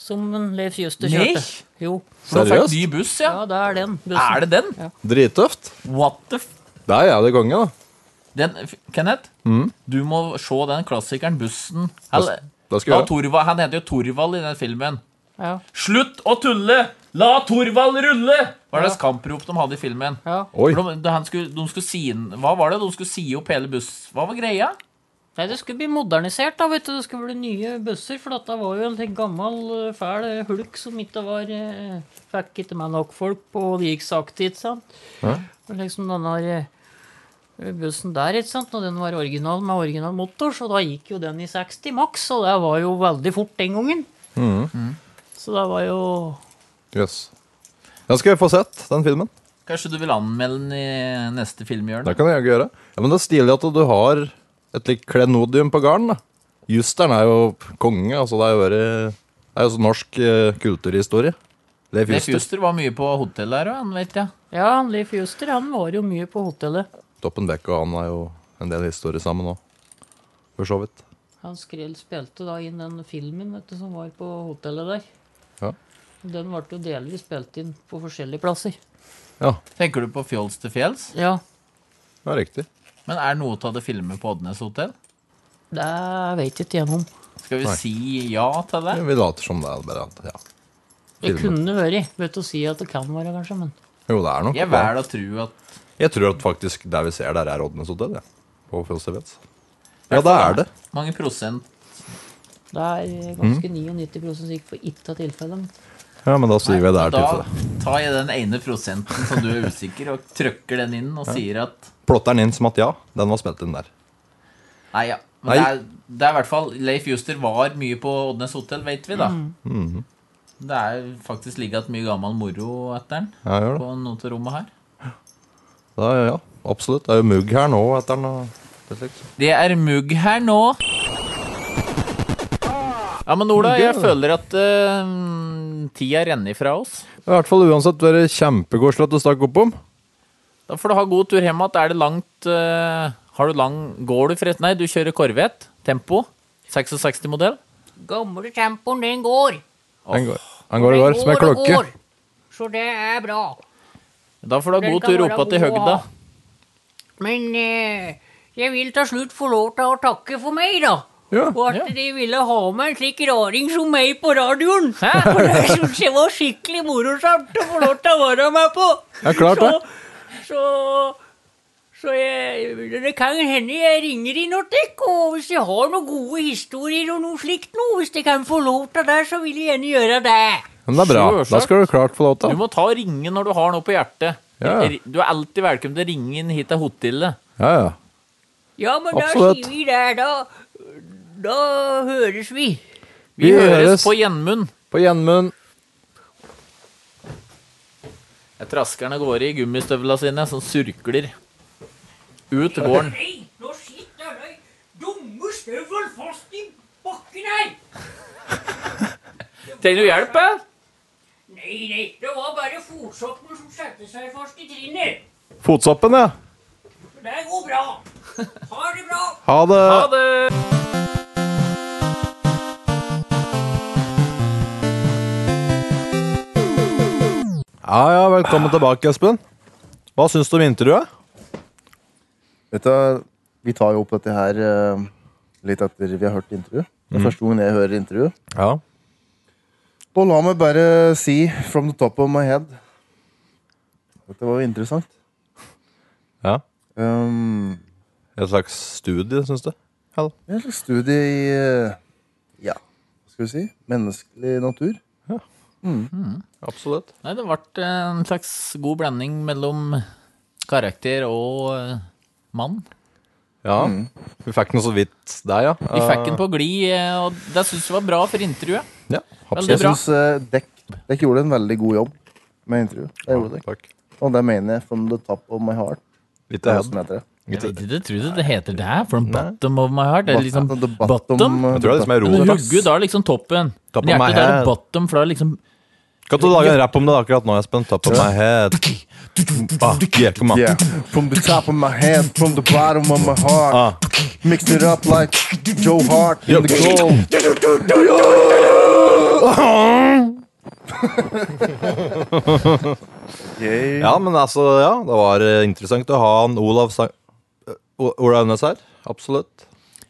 som Leif Juster
Nei?
kjørte. Jo.
Så han fikk
Seriøst?
ny buss, ja.
Ja, det er den bussen.
Er det den?
Drittøft.
What the f...
Det er jævlig konge, da.
Den, f- Kenneth, du må se den klassikeren Bussen. Eller,
Da Mm. skal
ja,
vi gjøre det.
Torva, han heter jo Torvald i den filmen.
Ja.
Slutt å tulle! La Torvald rulle! Var det kamprop de hadde i filmen?
Ja.
Oi.
For De, de, han skulle, de skulle si inn- Hva var det? De skulle si opp hele buss... Hva var greia?
Nei, det skulle bli modernisert, da, vet du. Det skulle bli nye busser, for dette var jo en helt gammel, eh, fæl eh, hulk som ikke var eh, Fikk ikke med nok folk på, og det gikk sakte, ikke sant. Og liksom den der eh, bussen der, ikke sant, og den var original med original motor, så da gikk jo den i 60 maks, og det var jo veldig fort den gangen. Så det var jo
Jøss. Den skal vi få sett, den filmen.
Kanskje du vil anmelde den i neste filmhjørne?
Det kan jeg jo gjøre. Ja, men det er stilig at du har et litt klenodium på garden, da. Justeren er jo konge, altså det er jo, bare, det er jo sånn norsk eh, kulturhistorie. Leif
Leif
Juster.
Juster var mye på hotellet her òg, han vet jeg.
Ja, han Leif Juster, han var jo mye på hotellet.
Toppen Beck og han er jo en del historie sammen òg. For så vidt.
Han skrev, spilte da inn den filmen vet du, som var på hotellet der.
Ja.
Og Den ble jo delvis spilt inn på forskjellige plasser.
Ja,
Tenker du på Fjols til fjells?
Ja,
det er riktig.
Men er noe av det filmet på Oddnes hotell?
det vet jeg ikke jeg om.
Skal vi si ja til det?
Ja, Vi later som det er bare at ja.
Det
Filmen.
kunne vært. Vet å si at det kan være, kanskje, men
Jo, det er nok
Jeg
det.
velger å tro at
Jeg tror at faktisk der vi ser der, er Oddnes hotell. Ja. På Fjellstevets. Ja, det er det.
mange prosent
det er ganske
Mhm.
99 sikkert for ikke av tilfellene.
Ja, men da sier vi det er
Da
tilfellet.
tar jeg den ene prosenten som du er usikker, og trykker den inn og sier at
Plotteren inn som at ja, den var spilt inn der.
Nei, ja. Men
Nei.
Det, er, det er i hvert fall Leif Juster var mye på Oddnes hotell, vet vi, da.
Mm.
Mhm.
Det er faktisk ligget mye gammel moro etter den
Ja, gjør det.
på noe av rommet her.
Da, ja, ja, absolutt. Det er jo mugg her nå etter den. og det slikt.
Det er mugg her nå. Ja, men Ola, jeg føler at eh, tida renner ifra oss.
I hvert fall uansett være kjempekoselig at du stakk opp om.
Da får du ha god tur hjem igjen. Er det langt eh, Har du lang Går du forresten? Nei, du kjører Corvette. Tempo. 66-modell.
Gamle tempoen, den går.
Han går, han går i går som en
og
klokke.
Så det er bra.
Da får du ha
Den
god
kan
tur
være
oppa til
god å
høgda.
ha. Men eh, jeg vil til slutt få lov til å takke for meg, da.
Ja.
Og at de ville ha med en slik raring som meg på radioen. For det syns jeg var skikkelig morosamt å få lov til å være med på.
Ja, klart det.
Så, så, så jeg, det kan hende jeg ringer i noe tikk, og hvis jeg har noen gode historier og noe slikt noe, hvis jeg kan få lov til det, så vil jeg gjerne gjøre det.
Men det er bra. Da skal du klart få lov
Du
til det.
må ta og ringe når du har noe på hjertet.
Ja.
Du er alltid velkommen til å ringe inn hit til hotellet.
Ja, ja.
Ja, men
Absolutt.
da sier vi det. Da, da høres vi.
Vi,
Vi
høres.
høres.
på gjenmunn.
På gjenmunn.
Jeg trasker den av gårde i gummistøvla sine, som surkler. Ut gården.
Nei, nå sitter den dumme støvelen fast i bakken her.
Trenger du hjelp, eh?
Nei, nei, det var bare fotsoppen som satte seg fast i trinnet.
Fotsoppen, ja.
Men det går bra. Ha det bra.
Ha det.
Ha det!
Ja, ja, velkommen tilbake, Espen. Hva syns du om intervjuet?
Vet du, vi tar jo opp dette her eh, litt etter vi har hørt intervju. Det er første gangen jeg hører intervju.
Ja.
Og la meg bare si from the top of my head Dette var jo interessant.
Ja.
Um,
Et slags studie, syns du?
Det er et slags studie i eh, ja, hva skal vi si, menneskelig natur.
Absolutt.
Nei, det ble en slags god blanding mellom karakter og eh, mann.
Ja.
Mm.
Vi fikk den så vidt der, ja.
Vi fikk den på glid, eh, og det syns jeg var bra for intervjuet.
Ja,
Veldig
Jeg
bra.
syns Dekk, Dekk eh, gjorde en veldig god jobb med intervjuet. Det gjorde de.
Takk.
Og det mener jeg from the top of my heart.
Litt
Det
av
er
head.
som heter det.
Jeg vet ikke, det tror jeg det heter det her. From bottom of my heart. Det er liksom
the
bottom.
Jeg tror det er det som er
Men
rolig.
hugget, da er liksom toppen.
Top of
Men
my
hjertet, da er det
head.
bottom, for da er det liksom
Kan du lage en rapp om det akkurat nå, Espen? Top of my head. Ah, yeah, come on.
Yeah. From the top of my head, from the bottom of my heart.
Ah.
Mix it up like Joe Hart in
Yep.
the glow. yeah.
Ja, men altså, ja, det var eh, interessant å ha en Olav Sa eh, O- Olav Ønnes her. Absolutt.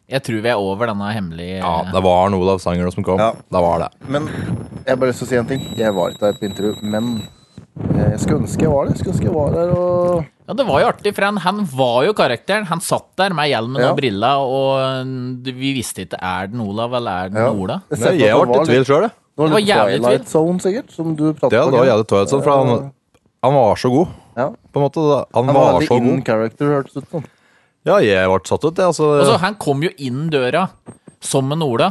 Jeg tror vi er over denne hemmelige
Ja, det var en Olav Sanger som kom.
Ja.
Det var det.
Men jeg har bare lyst til å si en ting. Jeg var ikke der på intervju, men eh, jeg skulle ønske jeg var der. Jeg skulle ønske jeg var der og
Ja, det var jo artig, for han, han var jo karakteren. Han satt der med hjelmen
Ja.
og brilla, og mm, vi visste ikke er den Olav eller er den
Ja.
Ola.
Jeg ser
Nei,
på
jeg
at
ble i tvil sjøl, jeg.
Det var
Det var
litt
jævlig
Twilight Zone, sikkert, som du pratet
Det
om.
var jævlig tøyt, sånn, for han, han var så god,
Ja.
på en måte. da. Han,
Han var
var så
veldig in
god.
character, hørtes det ut som.
Ja, jeg ble satt ut, jeg. Altså,
Og så Han kom jo inn døra som en Ola.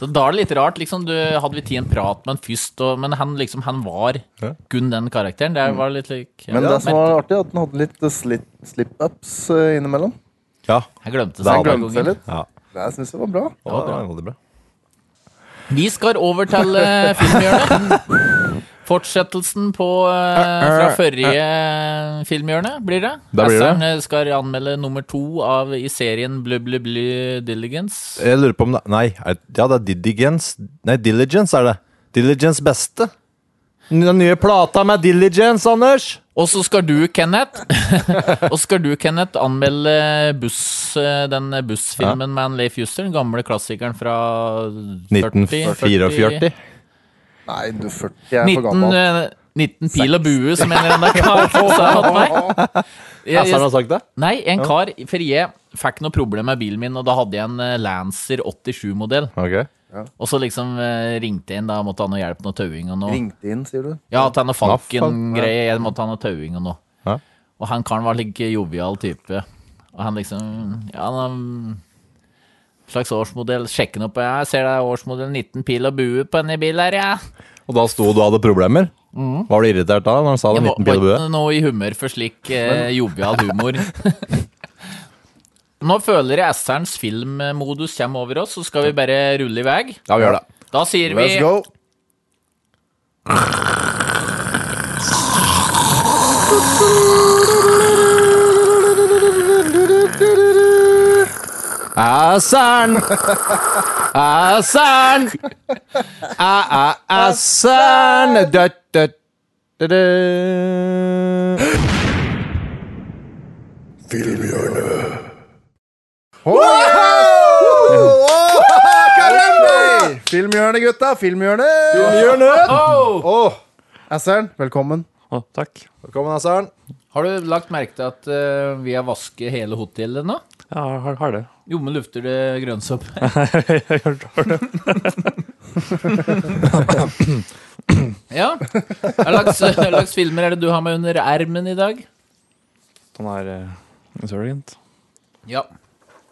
Så da er det litt rart. liksom, du Hadde vi tid en prat med han først, og, men han liksom, han var
Ja.
kun den karakteren. Det var litt lik
Men
ja,
det som var artig, er at han hadde litt eh, slit- slip-ups eh, innimellom.
ja.
Jeg glemte
Det
seg.
hadde
hver
Glemte seg
gang.
litt.
ja.
Det syns jeg var bra.
Det var veldig bra.
Vi skal over til eh, filmhjørnet. Fortsettelsen på eh, fra forrige filmhjørne, blir det.
Da blir det.
Hasseren, eh, skal anmelde nummer to av i serien Blø, blø, blø Diligence.
Jeg lurer på om det Nei, er- ja, det er Diligence. Nei, Diligence er det. Diligence beste. Den nye plata med Diligence, Anders!
Og så skal du, Kenneth, og så skal du, Kenneth anmelde buss, eh, den bussfilmen med han Leif Juster, den gamle klassikeren fra
1944.
Nei, du 40 er for
19,
gammel.
eh, 19 pil og bue, som en eller annen kar sa til meg. Jeg,
Hasseren
jeg,
har sagt det?
nei, en kar, for jeg fikk noe problem med bilen min, og da hadde jeg en eh, Lancer 87-modell.
Ok.
Og så liksom eh, ringte jeg inn, da måtte han ha hjelp, noe tauing og noe.
Ringte inn, sier du.
Ja, at han har
Hva
Falken-greie. Jeg måtte ha noe tauing og noe.
Ja.
Og han karen var like jovial type. Og han liksom Ja, han har en slags årsmodell. Sjekke den opp. Ja, jeg ser det er årsmodell 19 pil og bue på denne bilen her, ja.
Og da sto du og hadde problemer? Var du irritert da når han sa det?
Mhm. Jeg var
19 pil og bue?
var ikke noe i humør for slik eh, jovial humor. Nå føler jeg S-erens filmmodus kommer over oss, så skal vi bare rulle i vei.
Ja, vi gjør det.
Da sier vi
Let's go!
Assern! Assern! Assern! Dødt, dødt, dødt.
Hey! Filmhjørnet, gutta! Filmhjørnet! Assern, velkommen.
Å, takk.
Velkommen, Assern.
Har du lagt merke til at eh, vi har vasket hele hotellet nå?
Ja, har, har det.
Jo, men lufter det grønnsopp?
Jeg har- har det.
Ja. Hva slags, hva slags filmer er det du har med under ermen i dag?
Den er eh, Insurgent.
Ja.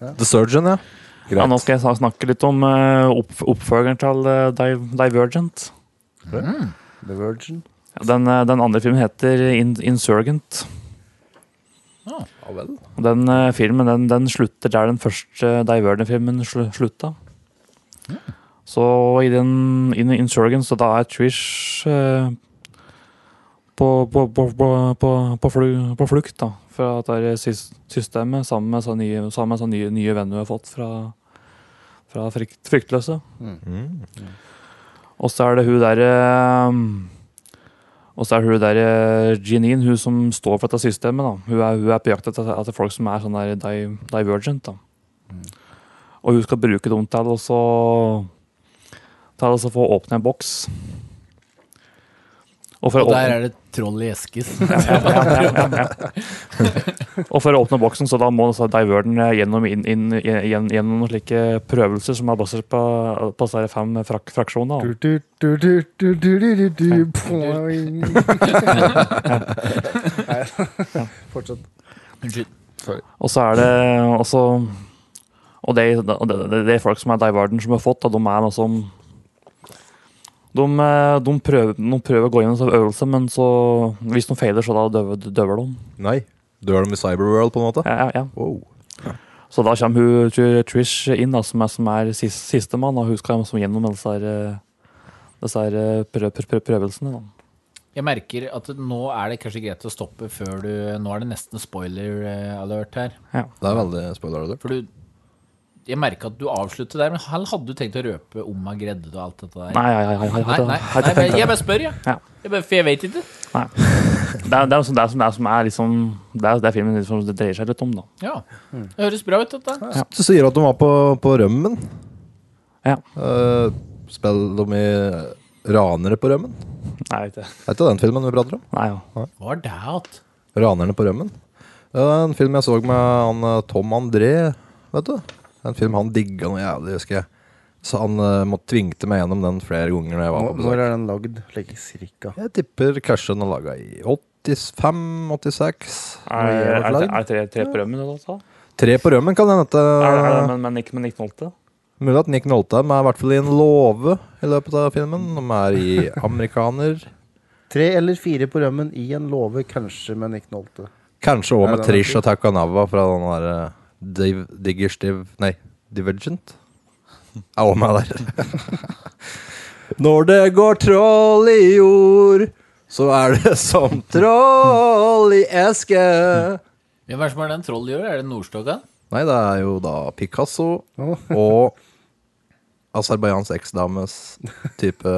The Surgeon, ja.
Ja, nå skal jeg sna- snakke litt om eh, opp, oppfølgeren til eh, Div Divergent.
Mm. The Virgin.
Den, eh, den andre filmen heter In Insurgent. Og Den eh, filmen den, den slutter der den første Divergent-filmen slu slutta. Så i den in Insurgent så da er Trish eh, på, på, på, på, på, på, flu på flukt da, fra det der sys- systemet sammen med sånne nye, sammen med sånne nye, nye venner hun har fått fra, fra frykt, Fryktløse.
Mm.
Og så er det hun derre og så er hun der eh, Janine, hun som står for dette systemet. da. Hun er, hun er på jakt etter, etter folk som er sånn der di divergent. da.
Mm.
Og hun skal bruke dem til å så- til å så få åpne en boks. Og for,
Og
å
der
åpne,
er det troll i eskes.
og for å åpne boksen, så da må altså diverden gjennom, inn, inn, gjen- gjennom noen slike prøvelser som er basert på, på disse fem frak fraksjoner. da.
Fortsett.
Unnskyld.
Og så er det også Og det, og det, det, det er folk som er diverden som har fått, da, de er noe som de, eh, de, prøver, de prøver å gå gjennom en sånn øvelse, men så, hvis de feiler, så da døver, døver de.
Nei. Dør de i Cyberworld, på en måte?
Ja, ja, ja.
Wow.
Så da kommer hun Tr- Trish inn, da, som er, som er sis- sistemann, og hun skal som gjennom alle disse, her, eh, disse her eh, prø prø prø prøvelsene. Da.
Jeg merker at nå er det kanskje greit å stoppe før du Nå er det nesten spoiler eh, alert her.
Det er veldig spoiler alert.
For du Jeg merker at du avslutter der, men han hadde du tenkt å røpe om han gredde og alt dette der?
Nei, jeg, jeg, jeg, jeg,
Nei,
jeg,
nei,
jeg,
nei,
jeg,
jeg bare spør, jeg.
Ja.
jeg bare, for jeg vet ikke.
Det er det er som det er, som det er, som er liksom Det er det er filmen liksom, det dreier seg litt om, da.
Ja. Det høres bra ut, dette.
Du sier at de var på, på rømmen.
Ja.
Eh, spiller de i eh, Ranere på rømmen?
Nei, jeg vet ikke.
Er ikke den filmen vi prater om?
Nei, ja.
Hva er det at?
Ranerne på rømmen. Det er en film jeg så med han eh, Tom André, vet du. En film han digga noe jævlig, husker jeg. Så han eh, måtte tvingte meg gjennom den flere ganger når jeg var på
Når
besøk.
er den lagd? Like cirka.
Jeg tipper kanskje den er laga i 85-86.
Er,
jeg
er,
vært
er,
lagd?
er det tre, tre på rømmen? eller noe sånt?
Tre på rømmen kan hende.
Er, er det,
at, eh,
men, men, ikke, men ikke nolte?
Mulig at Nick Noltheim er i hvert fall i en låve i løpet av filmen. De er i amerikaner.
Tre eller fire på rømmen i en låve, kanskje med Nick Nolte.
Kanskje òg
Ja,
med
den er
Trish
fin.
og Takanava fra den der eh, Div Diggers Div... Nei, Divergent? Er òg med der. Når det går troll i jord, så er det som troll i eske.
Hvem er det som er den trollet gjør? Er det Nordstoga?
Nei, det er jo da Picasso og Aserbajdsjans eksdames type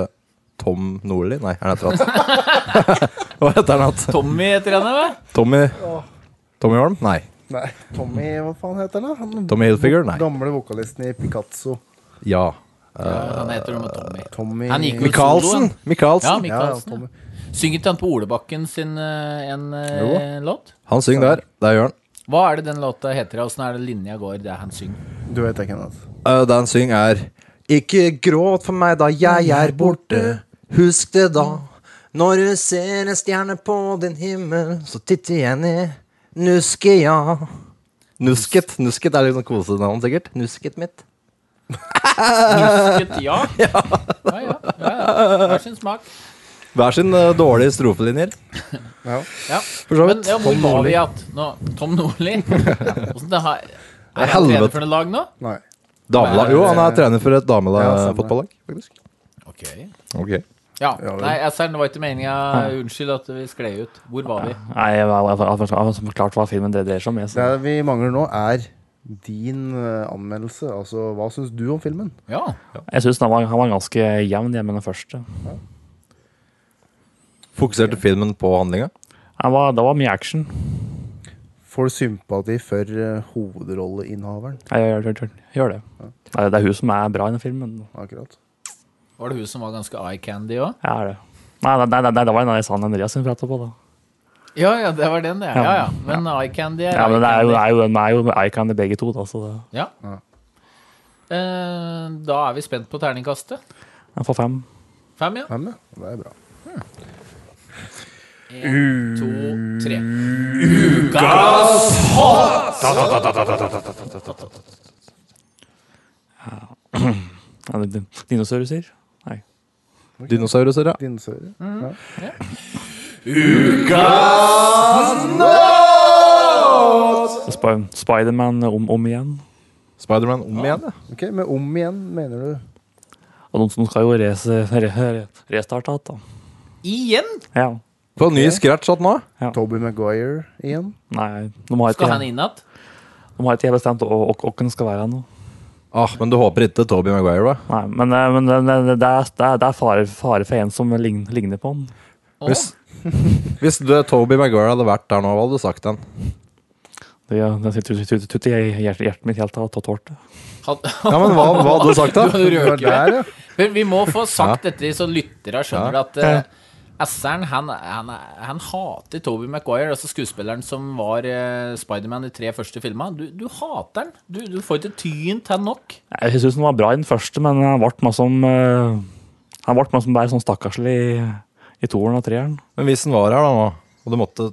Tom Nordli Nei, er det etter han? Hva heter han? igjen?
Tommy heter han, hva?
Tommy Tommy Holm? Nei.
Nei, Tommy, hva faen heter han da? Han
Tommy Hilfiger? Nei.
gamle vokalisten i Picasso.
Ja.
Ja, han heter noe med Tommy.
Tommy
Han gikk vel solo, han.
Michaelsen!
Ja,
Michaelsen.
Ja,
Michaelsen.
Tommy.
ja. Synger ikke han på Olebakken sin eh, en eh, låt?
Han synger der. Det gjør han.
Hva er det den låta heter, og åssen er det linja går der han synger?
Du vet ikke hva
Eh, Det han synger, er Ikke gråt for meg da jeg er borte. Husk det da. Når du ser en stjerne på din himmel, så titter jeg ned. Nuske, ja. Nusket. Nusket er litt sånn kosenavn, sikkert. Nusket mitt.
Husket ja? Ja, ja. ja, ja. Hver sin smak.
Hver sin eh, dårlige strofelinjer.
Ja.
For så
Men
vidt.
ja, hvor var vi at nå? Tom Nordli? Åssen det har Er han
Helvete.
trener for noe lag nå?
Nei.
Damelag. Jo, han er trener for et
Ja, stemmer.
damelagfotballag, faktisk.
Ok.
Ok.
Ja. Nei, jeg ser, det var ikke meninga. Unnskyld at vi skled ut. Hvor var vi?
Nei, jeg jeg- jeg- jeg- jeg har forklart hva filmen det dreier seg om. Jeg,
Det
så.
vi mangler nå, er din eh, anmeldelse. Altså, hva syns du om filmen?
Ja.
jeg syns han, var- han var ganske jevn jeg med den første.
Fokuserte filmen på handlinga?
Han var, det var mye action.
Får du sympati for eh, hovedrolleinnehaveren?
Jeg gjør, gjør, gjør, gjør det. Det er, det er hun som er bra i den filmen.
Akkurat.
Var det hun som var ganske eye candy òg?
Jeg er det. Nei, nei, nei, nei, det var en av de San Andreas hun pratet på, da.
Ja, ja, det var den, det. Ja, ja. Men eye candy er
Ja, men det er jo, det
eye candy.
er jo, det er jo eye-candy begge to, da, så det
Ja. Eh, Da er vi spent på terningkastet.
jeg får fem.
Fem, ja.
Hvem, ja? Det er bra.
To, tre.
Ja, det- det- Dinosauruser? Nei.
Dinosauruser, ja.
Din serie. Ja.
Sp Spiderman om, om igjen.
Spiderman om igjen, ja.
Ok, Men om igjen, mener du?
Og de som skal jo rese, re, re, restarte igjen, da.
Igjen?
Ja.
På ny scratch at nå?
Toby Maguire igjen?
Nei, de har
Skal han
ikke,
inn igjen?
de har ikke bestemt hvem skal være nå.
Ah, men du håper ikke Toby Maguire, da?
Nei, men, eh, men det, det, det er, det er- det er fare, fare for en som lign- ligner på han.
Hvis, hvis du, Toby Maguire hadde vært der nå, hva hadde du sagt den?
Det, det sitter tut- tut i hjertet, hjertet mitt helt av tatt hårdt.
Ja, men hva, hva hadde du sagt da?
Det var der, ja.
Men vi må få sagt dette så lytterne skjønner at eh, Asseren han, han, han hater Toby Maguire, altså skuespilleren som var eh, Spiderman i tre første filmer. Du, du hater han. Du, du får ikke tynt han nok.
Jeg syns den var bra i den første, men han ble meg som eh, Han ble meg som bare sånn stakkarslig i, i toeren og treeren.
Men hvis han var her da nå, og du måtte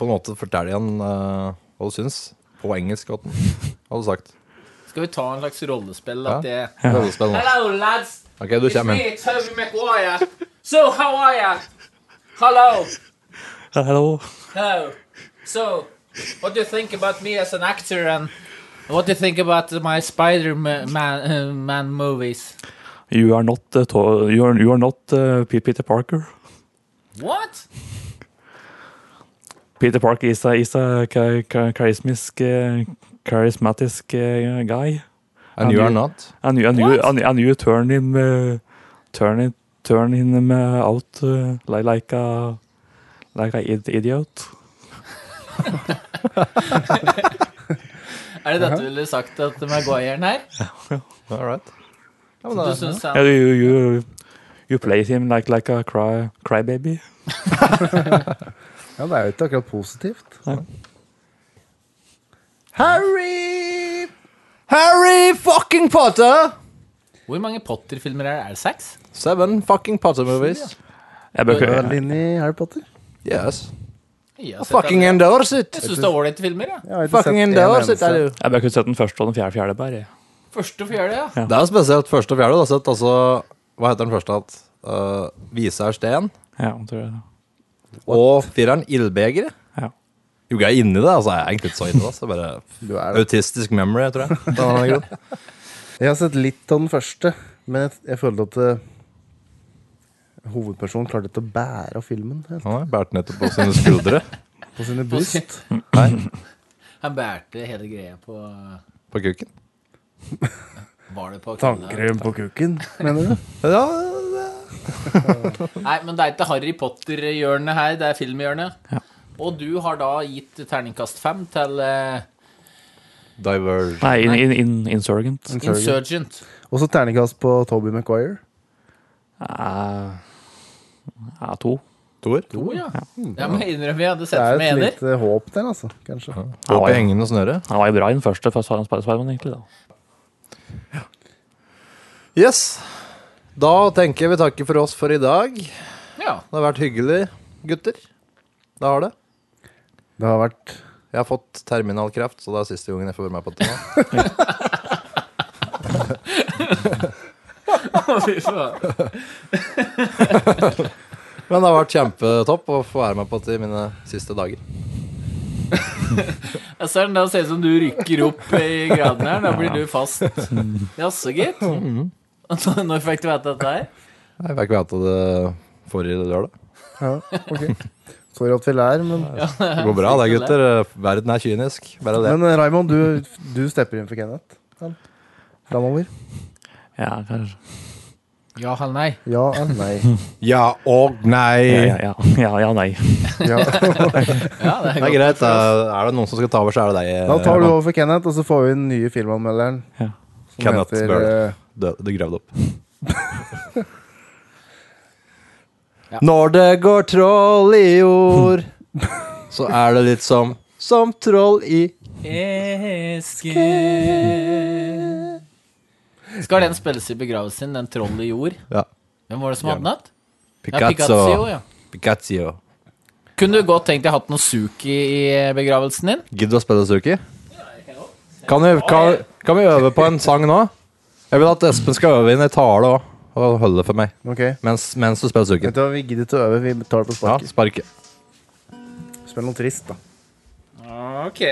på en måte fortelle igjen eh, hva du syns, på engelsk, hva den- hva hadde du sagt?
Skal vi ta en slags rollespill?
Ja.
At det
Rollespill nå.
Hello, lads.
Ok, du kommer inn.
Toby Maguire. So, how are ya? Hello.
Hello.
Hello. So, what do you think about me as an actor and what do you think about my Spider-Man uh, man movies?
You are not, eh, to, you are, you are not eh, Pe- Peter Parker.
What?
Peter Parker is a, is a cha- cha- charismatic, eh, charismatic eh, guy.
And you are not.
And you, and you,
What?
and, and you turn him, eh, turn it, turn him eh, out eh, like, like a, like a id idiot.
Er det dette du ville sagt at Maguiren her?
All right. Ja, men
Du
da,
synes
Yeah,
han
you, you, you play him like, like a cry, crybaby.
Ja, det er jo ikke akkurat positivt.
Harry! Harry fucking Potter!
Hvor mange Potter-filmer er det? Er det seks?
Seven fucking Potter movies.
Jeg
Du er
bør,
veldig inne i Harry Potter.
Yes.
Jeg har sett
I
alle.
fucking endorse it.
Jeg syns det er ålreite filmer. Ja.
Jeg har ikke
Fucking
sett en
endorse it,
eneste.
er det jo.
jeg bør kunne sett den første og den fjerde fjerde bare.
Første og fjerde, ja.
Det er jo spesielt første og fjerde. Du har sett altså Hva heter den første? At, uh, Vise er sten.
Ja, jeg tror jeg det.
Og fireren Ildbegeret.
Ja.
Jo, jeg er inni det. altså Jeg er egentlig ikke så inni det. Altså. Bare
Du er det.
autistisk memory, tror jeg. Det var en grunn.
Jeg har sett litt av den første, men jeg, jeg følte at eh, hovedpersonen klarte ikke å bære av filmen helt,
Han har båret nettopp på sine skuldre
på sine bryst.
Han bærte hele greia på
på kukken.
Var det på
Tannkrem på kukken, mener du?
Ja,
Nei, men det er ikke Harry Potter-hjørnet her, det er filmhjørnet. Og du har da gitt terningkast fem til eh,
Diverge.
Nei, Mm. in, in, in, Insurgent.
Insurgent.
Og så terningkast på Toby Maguire.
Eh, ja, to.
Toer.
Jo, ja. Jeg må innrømme jeg hadde
Det
sett
er
som jeg
et
ener.
lite håp der, altså. Kanskje.
Opp i hengende snøre.
Han var jo bra i den første for Spider- Spider-Man, egentlig. da.
Yes. Da tenker jeg vi takker for oss for i dag. Det
Ja.
har vært hyggelig, gutter. Det har det.
Det har vært
Jeg har fått terminalkreft, så det er siste gangen jeg får være med på det. nå.
Fy faen.
Men det har vært kjempetopp å få være med på det i mine siste dager.
Jeg ser den da ser ut som du rykker opp i graden her. Da blir du fast. Jaså, gitt. Nå- Når fikk du vite dette her?
Jeg fikk vite det forrige lørdag.
Ja, ok. Sorry at vi lær, men,
Det går bra, det, gutter. Verden er kynisk. Bare det.
men eh, Raymond, du, du stepper inn for Kenneth. Framover.
Ja, kanskje.
Ja eller nei?
Ja eller nei?
Ja og
Ja,
nei.
ja, ja, ja, ja nei.
Ja.
Ja, det er
Det er
godt.
greit. eh, Er det noen som skal ta over, så er det deg.
Da tar du over for Kenneth, og så får vi den nye filmanmelderen.
Ja.
som
Kenneth
heter,
Bøhler.
eh,
Du, du gravde opp. Når det går troll i jord, så er det litt som som troll i
Eske Skal den spilles i begravelsen din, den trollet i jord?
ja.
Hvem var det som hadde den? igjen? Ja, Picasso,
Picasso.
ja.
Picasso.
Kunne du godt tenkt deg hatt noe suki i begravelsen din?
Gidder du å spille Suki? Kan vi, kan, kan vi øve på en sang nå? Jeg vil at Espen skal øve inn en tale òg, og holde det for meg.
Ok.
Mens, mens du spiller Suki.
Vet du hva, vi gidder ikke å øve, vi tar det på
Ja,
sparket.
sparke.
Spill noe trist, da.
Ok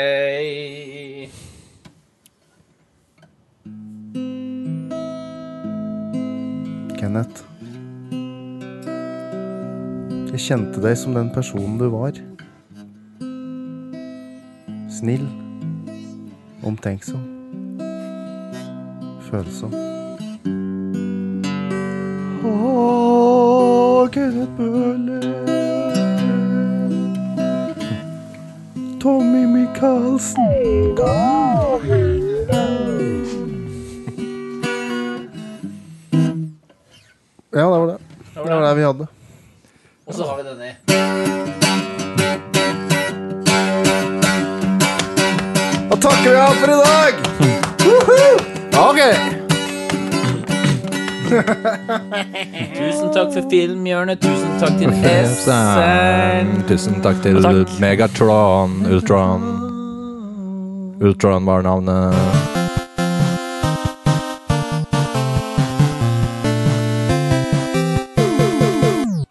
Kenneth. Jeg kjente deg som den personen du var. Snill. Omtenksom. Følsom. Åh, Kenneth Bøhler. Tommy Michaelsen. Ja, det var det. Det var det vi hadde.
Og Tusen takk for filmhjørnet. Tusen takk til Hesseren.
Tusen takk til
Takk.
Megatron, Ultron. Ultron var navnet.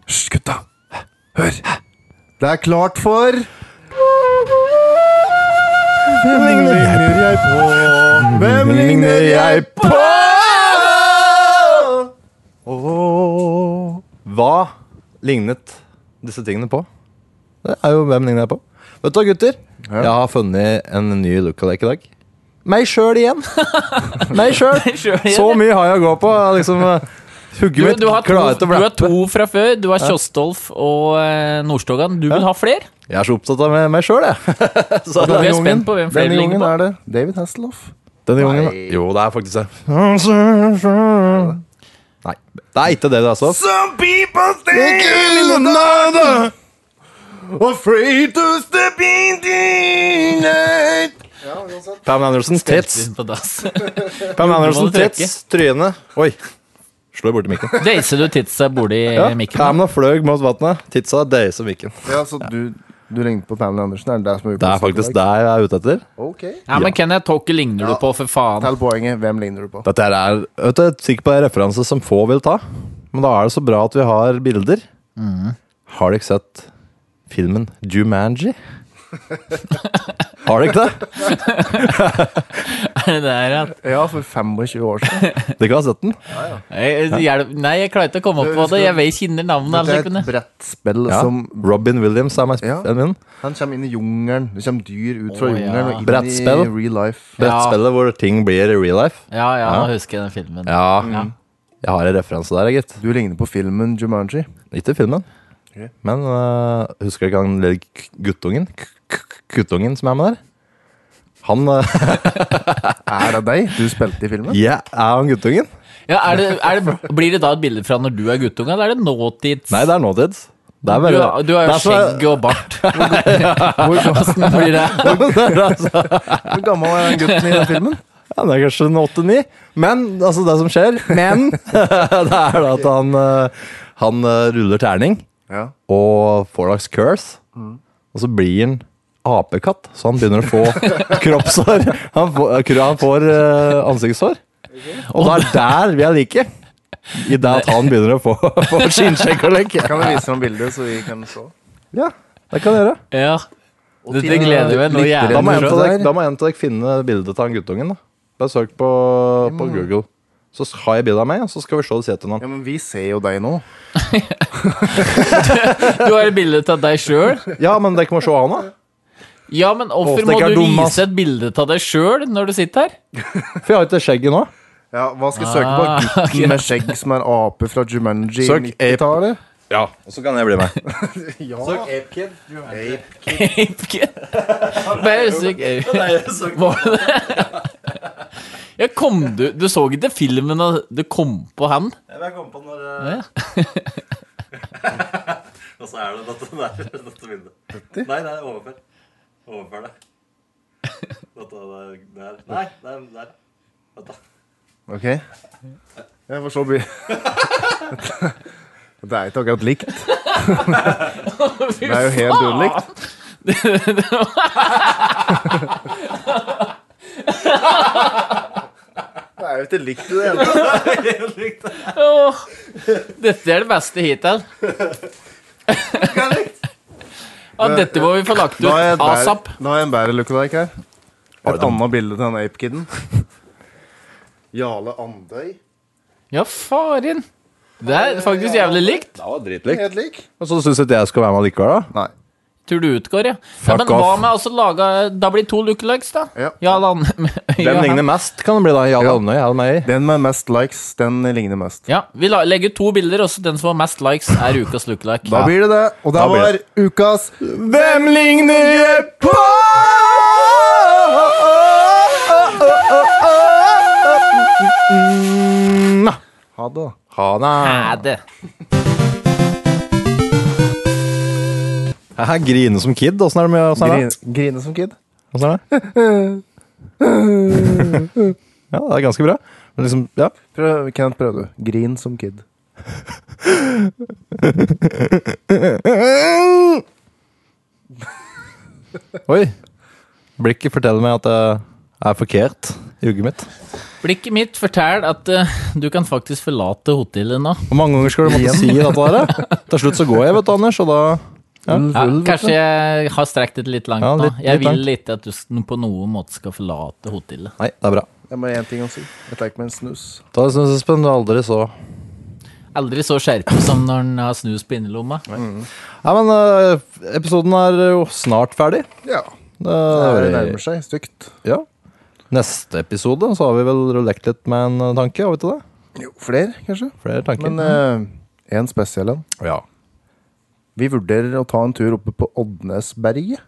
Hysj, gutta. Hør. Det er klart for Hvem ligner jeg på? Hvem ligner jeg på?
Åh. Hva lignet disse tingene på? Det er jo hvem ligner jeg på. Vet du hva, gutter? Jeg har funnet en ny lookalike i dag. Meg sjøl igjen. Meg sjøl. Så mye har jeg å gå på. Liksom,
Du,
Hugget mitt
du, har to,
klarer til å
du har
blappe.
to fra før. Du har Kjostolf og eh, Nordstogan. Du vil ha flere?
Jeg er så opptatt av meg- meg sjøl, jeg. Så
Da blir jeg
gangen-
spent på hvem flere
Denne
ligner
gangen
på.
er det David Hasselhoff.
Denne gangen da. Jo, det er faktisk det. Nei, det er ikke det det er så.
Some people think in another Afraid to step in the night
Pam Anderson, tits.
Inn på dass.
Pam Anderson,
må du trekke.
tits. Tryne. Oi. Slår borti mikken.
Deiser du titsa borti
Ja,
mikken?
Pamela fløy mot vannet. Titsa deiser mikken.
Ja, så du, du ringte på Pamela Andersen? Er det deg som er
Det er faktisk det jeg er ute etter.
Ok.
Ja, men Kenneth, Håke ligner du på, for faen.
Tell poenget. Hvem ligner du på?
Dette her er vet du, jeg er sikker på det er en referanse som få vil ta. Men da er det så bra at vi har bilder. Har dere ikke sett filmen Jumanji? har dere ikke det?
Det er at
Ja, for 25 år siden.
Dere har sett den?
Jeg- hjelp- Nei, jeg klarer ikke å komme opp på det. Jeg vet kjenner navnet.
Det
Altså,
er
jeg
et
kunne.
brettspill
Ja.
som
Robin Williams er meg
Ja.
min.
Han kommer inn i jungelen. Det kommer dyr ut fra
Å, ja.
jungelen og inn
Brettspill.
i real life.
Brettspillet hvor ting blir i real life.
Ja, ja,
Ja.
nå husker jeg den filmen.
Ja. Jeg har en referanse der, gitt.
Du ligner på filmen Jumanji.
Ikke filmen.
Ok.
Men øh, husker du ikke han lille k- guttungen? K- k- Guttungen som er med der? Han øh,
Er det deg? Du spilte i filmen?
Ja, er han guttungen?
Ja, er det, er det, blir det da et bilde fra når du er guttunge, eller er det nåtids?
Nei, det er nåtids. Det er
du,
bare
har- du har jo
det er så-
skjegg og bart. Hvordan blir det?
Hvor gammel er den gutten i den filmen?
Ja, det er kanskje en åtte-ni. Men altså, det som skjer Men det er da at han, øh, han øh, ruller terning
Ja.
og får dags curse. Og så blir han apekatt, så han begynner å få kroppshår. Han får, han får øh, ansiktshår. Og det er der vi er like. I det at han begynner å få, få skinnsjekk og lekk.
Kan du vise noen bilder, så vi kan se?
Ja, det kan jeg gjøre.
Ja. Dette gleder vi meg nå
Lytter
jævlig.
Da må en
Den
av
der.
dere- da må en av dere finne bildet av han guttungen. da Bare søk på, på Google. Så har jeg bildet av meg, og så skal vi se det til
Ja,
ham.
men vi ser jo deg nå.
Du har et bilde av deg sjøl.
Ja, men dere må se han òg.
Ja, men
Åh,
hvorfor
det
må
ikke er
du
dum, ass.
vise et bilde av deg sjøl når du sitter her?
For jeg har ikke skjegget nå.
Ja, Hva skal jeg søke på? Gutten med skjegg som er ape fra Jumanji i
Søk ape.
90-tallet?
Ja, og så kan jeg bli med.
Apekid? Bare syk Var det det? Ja, kom du Du så ikke filmen og du kom på han?
Jeg kom på når eh,
Ja.
Og så er det dette, der, dette bildet. Nei, nei, overfør. Overfør det. Dette der. Nei, der. der.
Ok. Jeg får se bil... Det er ikke akkurat likt. Det er jo helt ulikt. Det er jo ikke likt i det hele tatt.
Åh, dette er det beste hittil. Ja, dette må vi få lagt ut
Da har jeg et bedre-
asap.
da har jeg en bedre lookalike her. Et annet bilde til den apekiden. Jarle Andøy.
Ja, faren. Det er faktisk jævlig likt.
Det var dritlikt.
Helt lik.
Og så syns jeg ikke jeg skal være med likevel, da.
Nei.
Tror du utgår, ja. ja
Fuck
men
off.
hva med altså laga Da blir det to lookalikes, da.
Ja.
Lan-
Hvem
Ja,
ligner mest, kan det bli da. Jarl Andøy er det meg i.
Den med mest likes, den ligner mest.
Ja, Vi la- legger ut to bilder, og så den som har mest likes, er ukas lookalike.
Da blir det det. Og det
Da blir
var ukas
Hvem ligner jeg på?
Ha det.
Ha det.
Er det.
Jeg griner som kid. Åssen er det med åssen er det?
Grine, grine som kid.
Åssen er det? Ja, det er ganske bra. Men Liksom, ja.
Prøv, Kenneth, prøv du. Grin som kid.
Oi. Blikket forteller meg at jeg er forkert i hugget mitt.
Blikket mitt forteller at eh, du kan faktisk forlate hotellet nå.
Hvor mange ganger skal du måtte si dette her? Til slutt så går jeg, vet du, Anders, og da
Ja, kanskje jeg har strekt det litt langt
Ja, litt-
nå. Jeg
litt langt.
vil ikke at du s- på noen måte skal forlate hotellet.
Nei, det er bra.
Jeg må ha én ting å si. Jeg tar ikke med en snus.
Da syns jeg Espen, du aldri så
Aldri så skjerpet som når en har snus på innerlomma.
Nei, men eh, episoden er jo snart ferdig.
Ja.
Det
Det nærmer seg stygt.
Ja. Neste episode så har vi vel lekt litt med en eh, tanke, har vi ikke det?
Jo, flere, kanskje.
Flere tanker.
Men én spesiell en.
ja.
Vi vurderer å ta en tur oppe på Oddnesberget.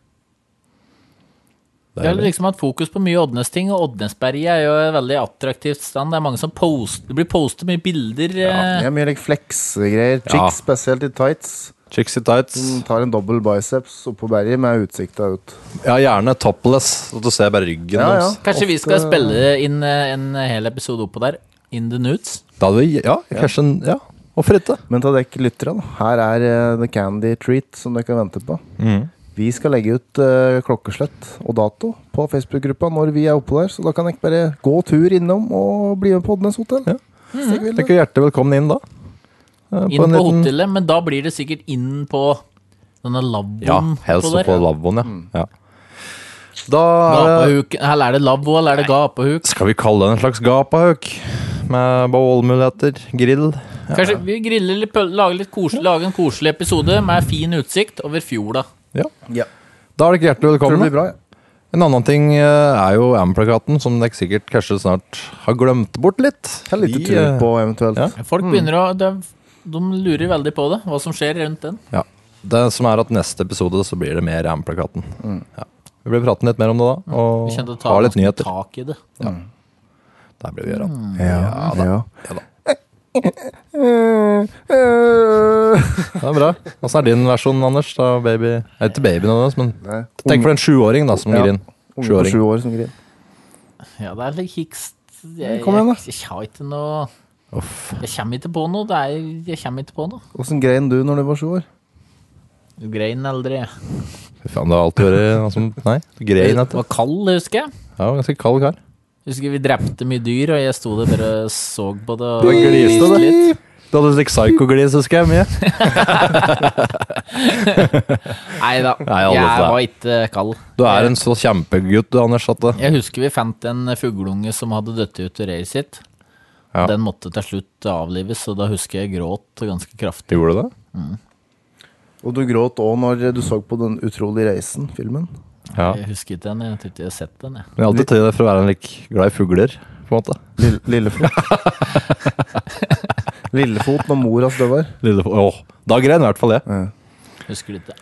Vi har liksom hatt fokus på mye Oddnes-ting, og Oddnesberget er jo et veldig attraktivt stand. Det er mange som poster, det blir postet mye bilder. eh,
Det er mye like, fleksegreier. Chicks,
Ja.
spesielt i tights.
Chicks in tights.
Hun tar en dobbel biceps oppå berget med utsikta ut.
Ja, gjerne topless, så du ser bare ryggen
Ja, ja.
deres.
Kanskje vi skal spille inn eh, en hel episode oppå der. In the nudes.
Da hadde vi, ja, kanskje en, ja. Hvorfor ikke?
Men ta dekk lyttere, da. Her er eh, The Candy Treat som dere kan vente på. Vi skal legge ut eh, klokkeslett og dato på Facebook-gruppa når vi er oppe der, så da kan dere bare gå tur innom og bli med på Oddnes hotell.
Ja.
Stig Ville.
Tenk hjertelig velkommen inn da. Eh,
Inn på
en liten-
hotellet, men da blir det sikkert inn på denne lavvoen.
Ja, helst
der.
på lavvoen, ja.
Mm.
ja. Da er det-
Gapahuken. Eller er det lavvo, eller er det gapahuk?
skal vi kalle det en slags gapahauk. Med bålmuligheter, grill.
Kanskje vi griller litt, pøl- lager, litt koselig, lager en koselig episode med fin utsikt over fjorda.
Da er dere hjertelig
Tror det
velkommen.
blir bra, ja.
En annen ting eh, er jo AM-plakaten, som dere sikkert kanskje snart har glemt bort litt.
Ta en liten
Vi,
tur
eh,
på eventuelt.
ja.
Folk begynner å de, de lurer veldig på det, hva som skjer rundt den.
Ja. Det som er at neste episode så blir det mer AM-plakaten. Ja. Vi blir praten litt mer om det da, og
Mm. Vi kjente å ta
har litt nyheter.
tak i det.
Der blir vi gjøre.
Ja, da.
Ja da.
Eh,
Det er bra. Åssen er din versjon, Anders? Da, baby? Nei, ikke babyen hennes, men
Nei.
tenk for en sjuåring da, som
Ja.
gir inn.
Unge på
Sjuåring.
sju år som griner.
Ja, det er litt hikst. Jeg,
Kom igjen, da.
jeg, jeg har ikke noe Jeg kommer ikke på noe. Det er, jeg kommer ikke på noe.
Åssen grein du når du var sju år?
Du grein aldri.
Fy faen, det har alltid vært noe som Nei,
Du
grein etter.
var kald, husker jeg.
Ja, ganske kald kar.
Husker vi drepte mye dyr, og jeg sto der bare og så på det.
Du
Og
gliste det. Du hadde slik psyko-glis, husker jeg. Mye.
Nei da,
Nei, alle
jeg
fra-
var ikke kald.
Du er en så kjempegutt, du, Anders. At eh, det.
Jeg husker vi fant en fugleunge som hadde dødd ut i reiret sitt.
Ja.
Den måtte til slutt avlives, og da husker jeg gråt ganske kraftig.
Gjorde du det?
Og du gråt òg når du så på Den utrolige reisen, filmen.
Ja.
Jeg husker ikke den, jeg tror ikke jeg har sett den. Jeg.
Men jeg har alltid tatt det for å være en lik glad i fugler, på en måte.
Lille, Lillefot. Lillefot når mor hans døver.
Lille, åh, da grein i hvert fall jeg.
Husker det ikke.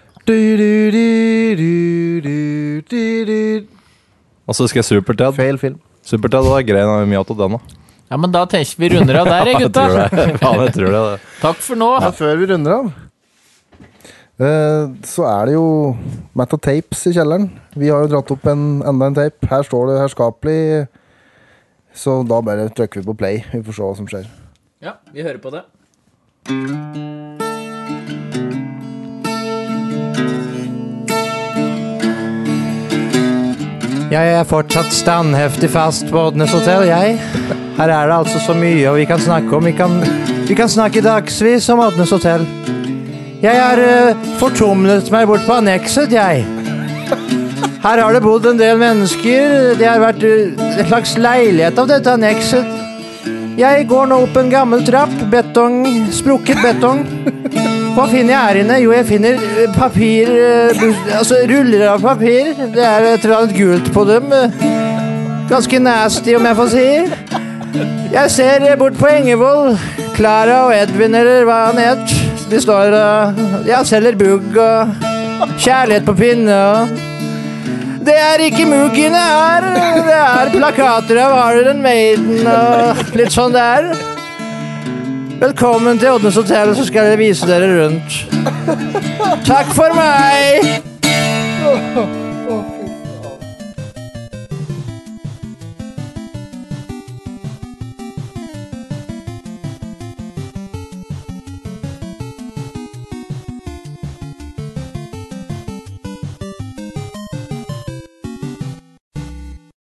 Og så husker jeg Super-Ted.
Feil film.
Super-Ted, da grein jeg mye av til den, da.
Ja, men da tenker vi runder av der, jeg,
Jeg tror
gutta.
det. Faen, jeg tror det.
Takk for nå.
Men før vi runder av, eh, så er det jo Matta Tapes i kjelleren. Vi har jo dratt opp en, enda en tape. Her står det herskapelig. Så da bare trykker vi på play. Vi får se hva som skjer.
Ja, vi hører på det.
Jeg er fortsatt standheftig fast på Oddnes hotell, jeg. Her er det altså så mye vi kan snakke om. Vi kan, vi kan snakke dagsvis om Oddnes hotell. Jeg har eh, fortumlet meg bort på annekset, jeg. Her har det bodd en del mennesker. Det har vært eh, en slags leilighet av dette annekset. Jeg går nå opp en gammel trapp. Betong. Sprukket betong. Hva finner jeg her inne? Jo, jeg finner eh, papir eh, bus- Altså ruller av papir. Det er et eller annet gult på dem. eh, Ganske nasty, om jeg får si. Jeg ser eh, bort på Engevold. Klara og Edvin, eller hva han het. De står og ja, selger bugg og kjærlighet på pinne og Det er ikke muggene her. Det er plakater av Iron Maiden og litt sånn der. Velkommen til Oddnes hotell, så skal jeg vise dere rundt. Takk for meg!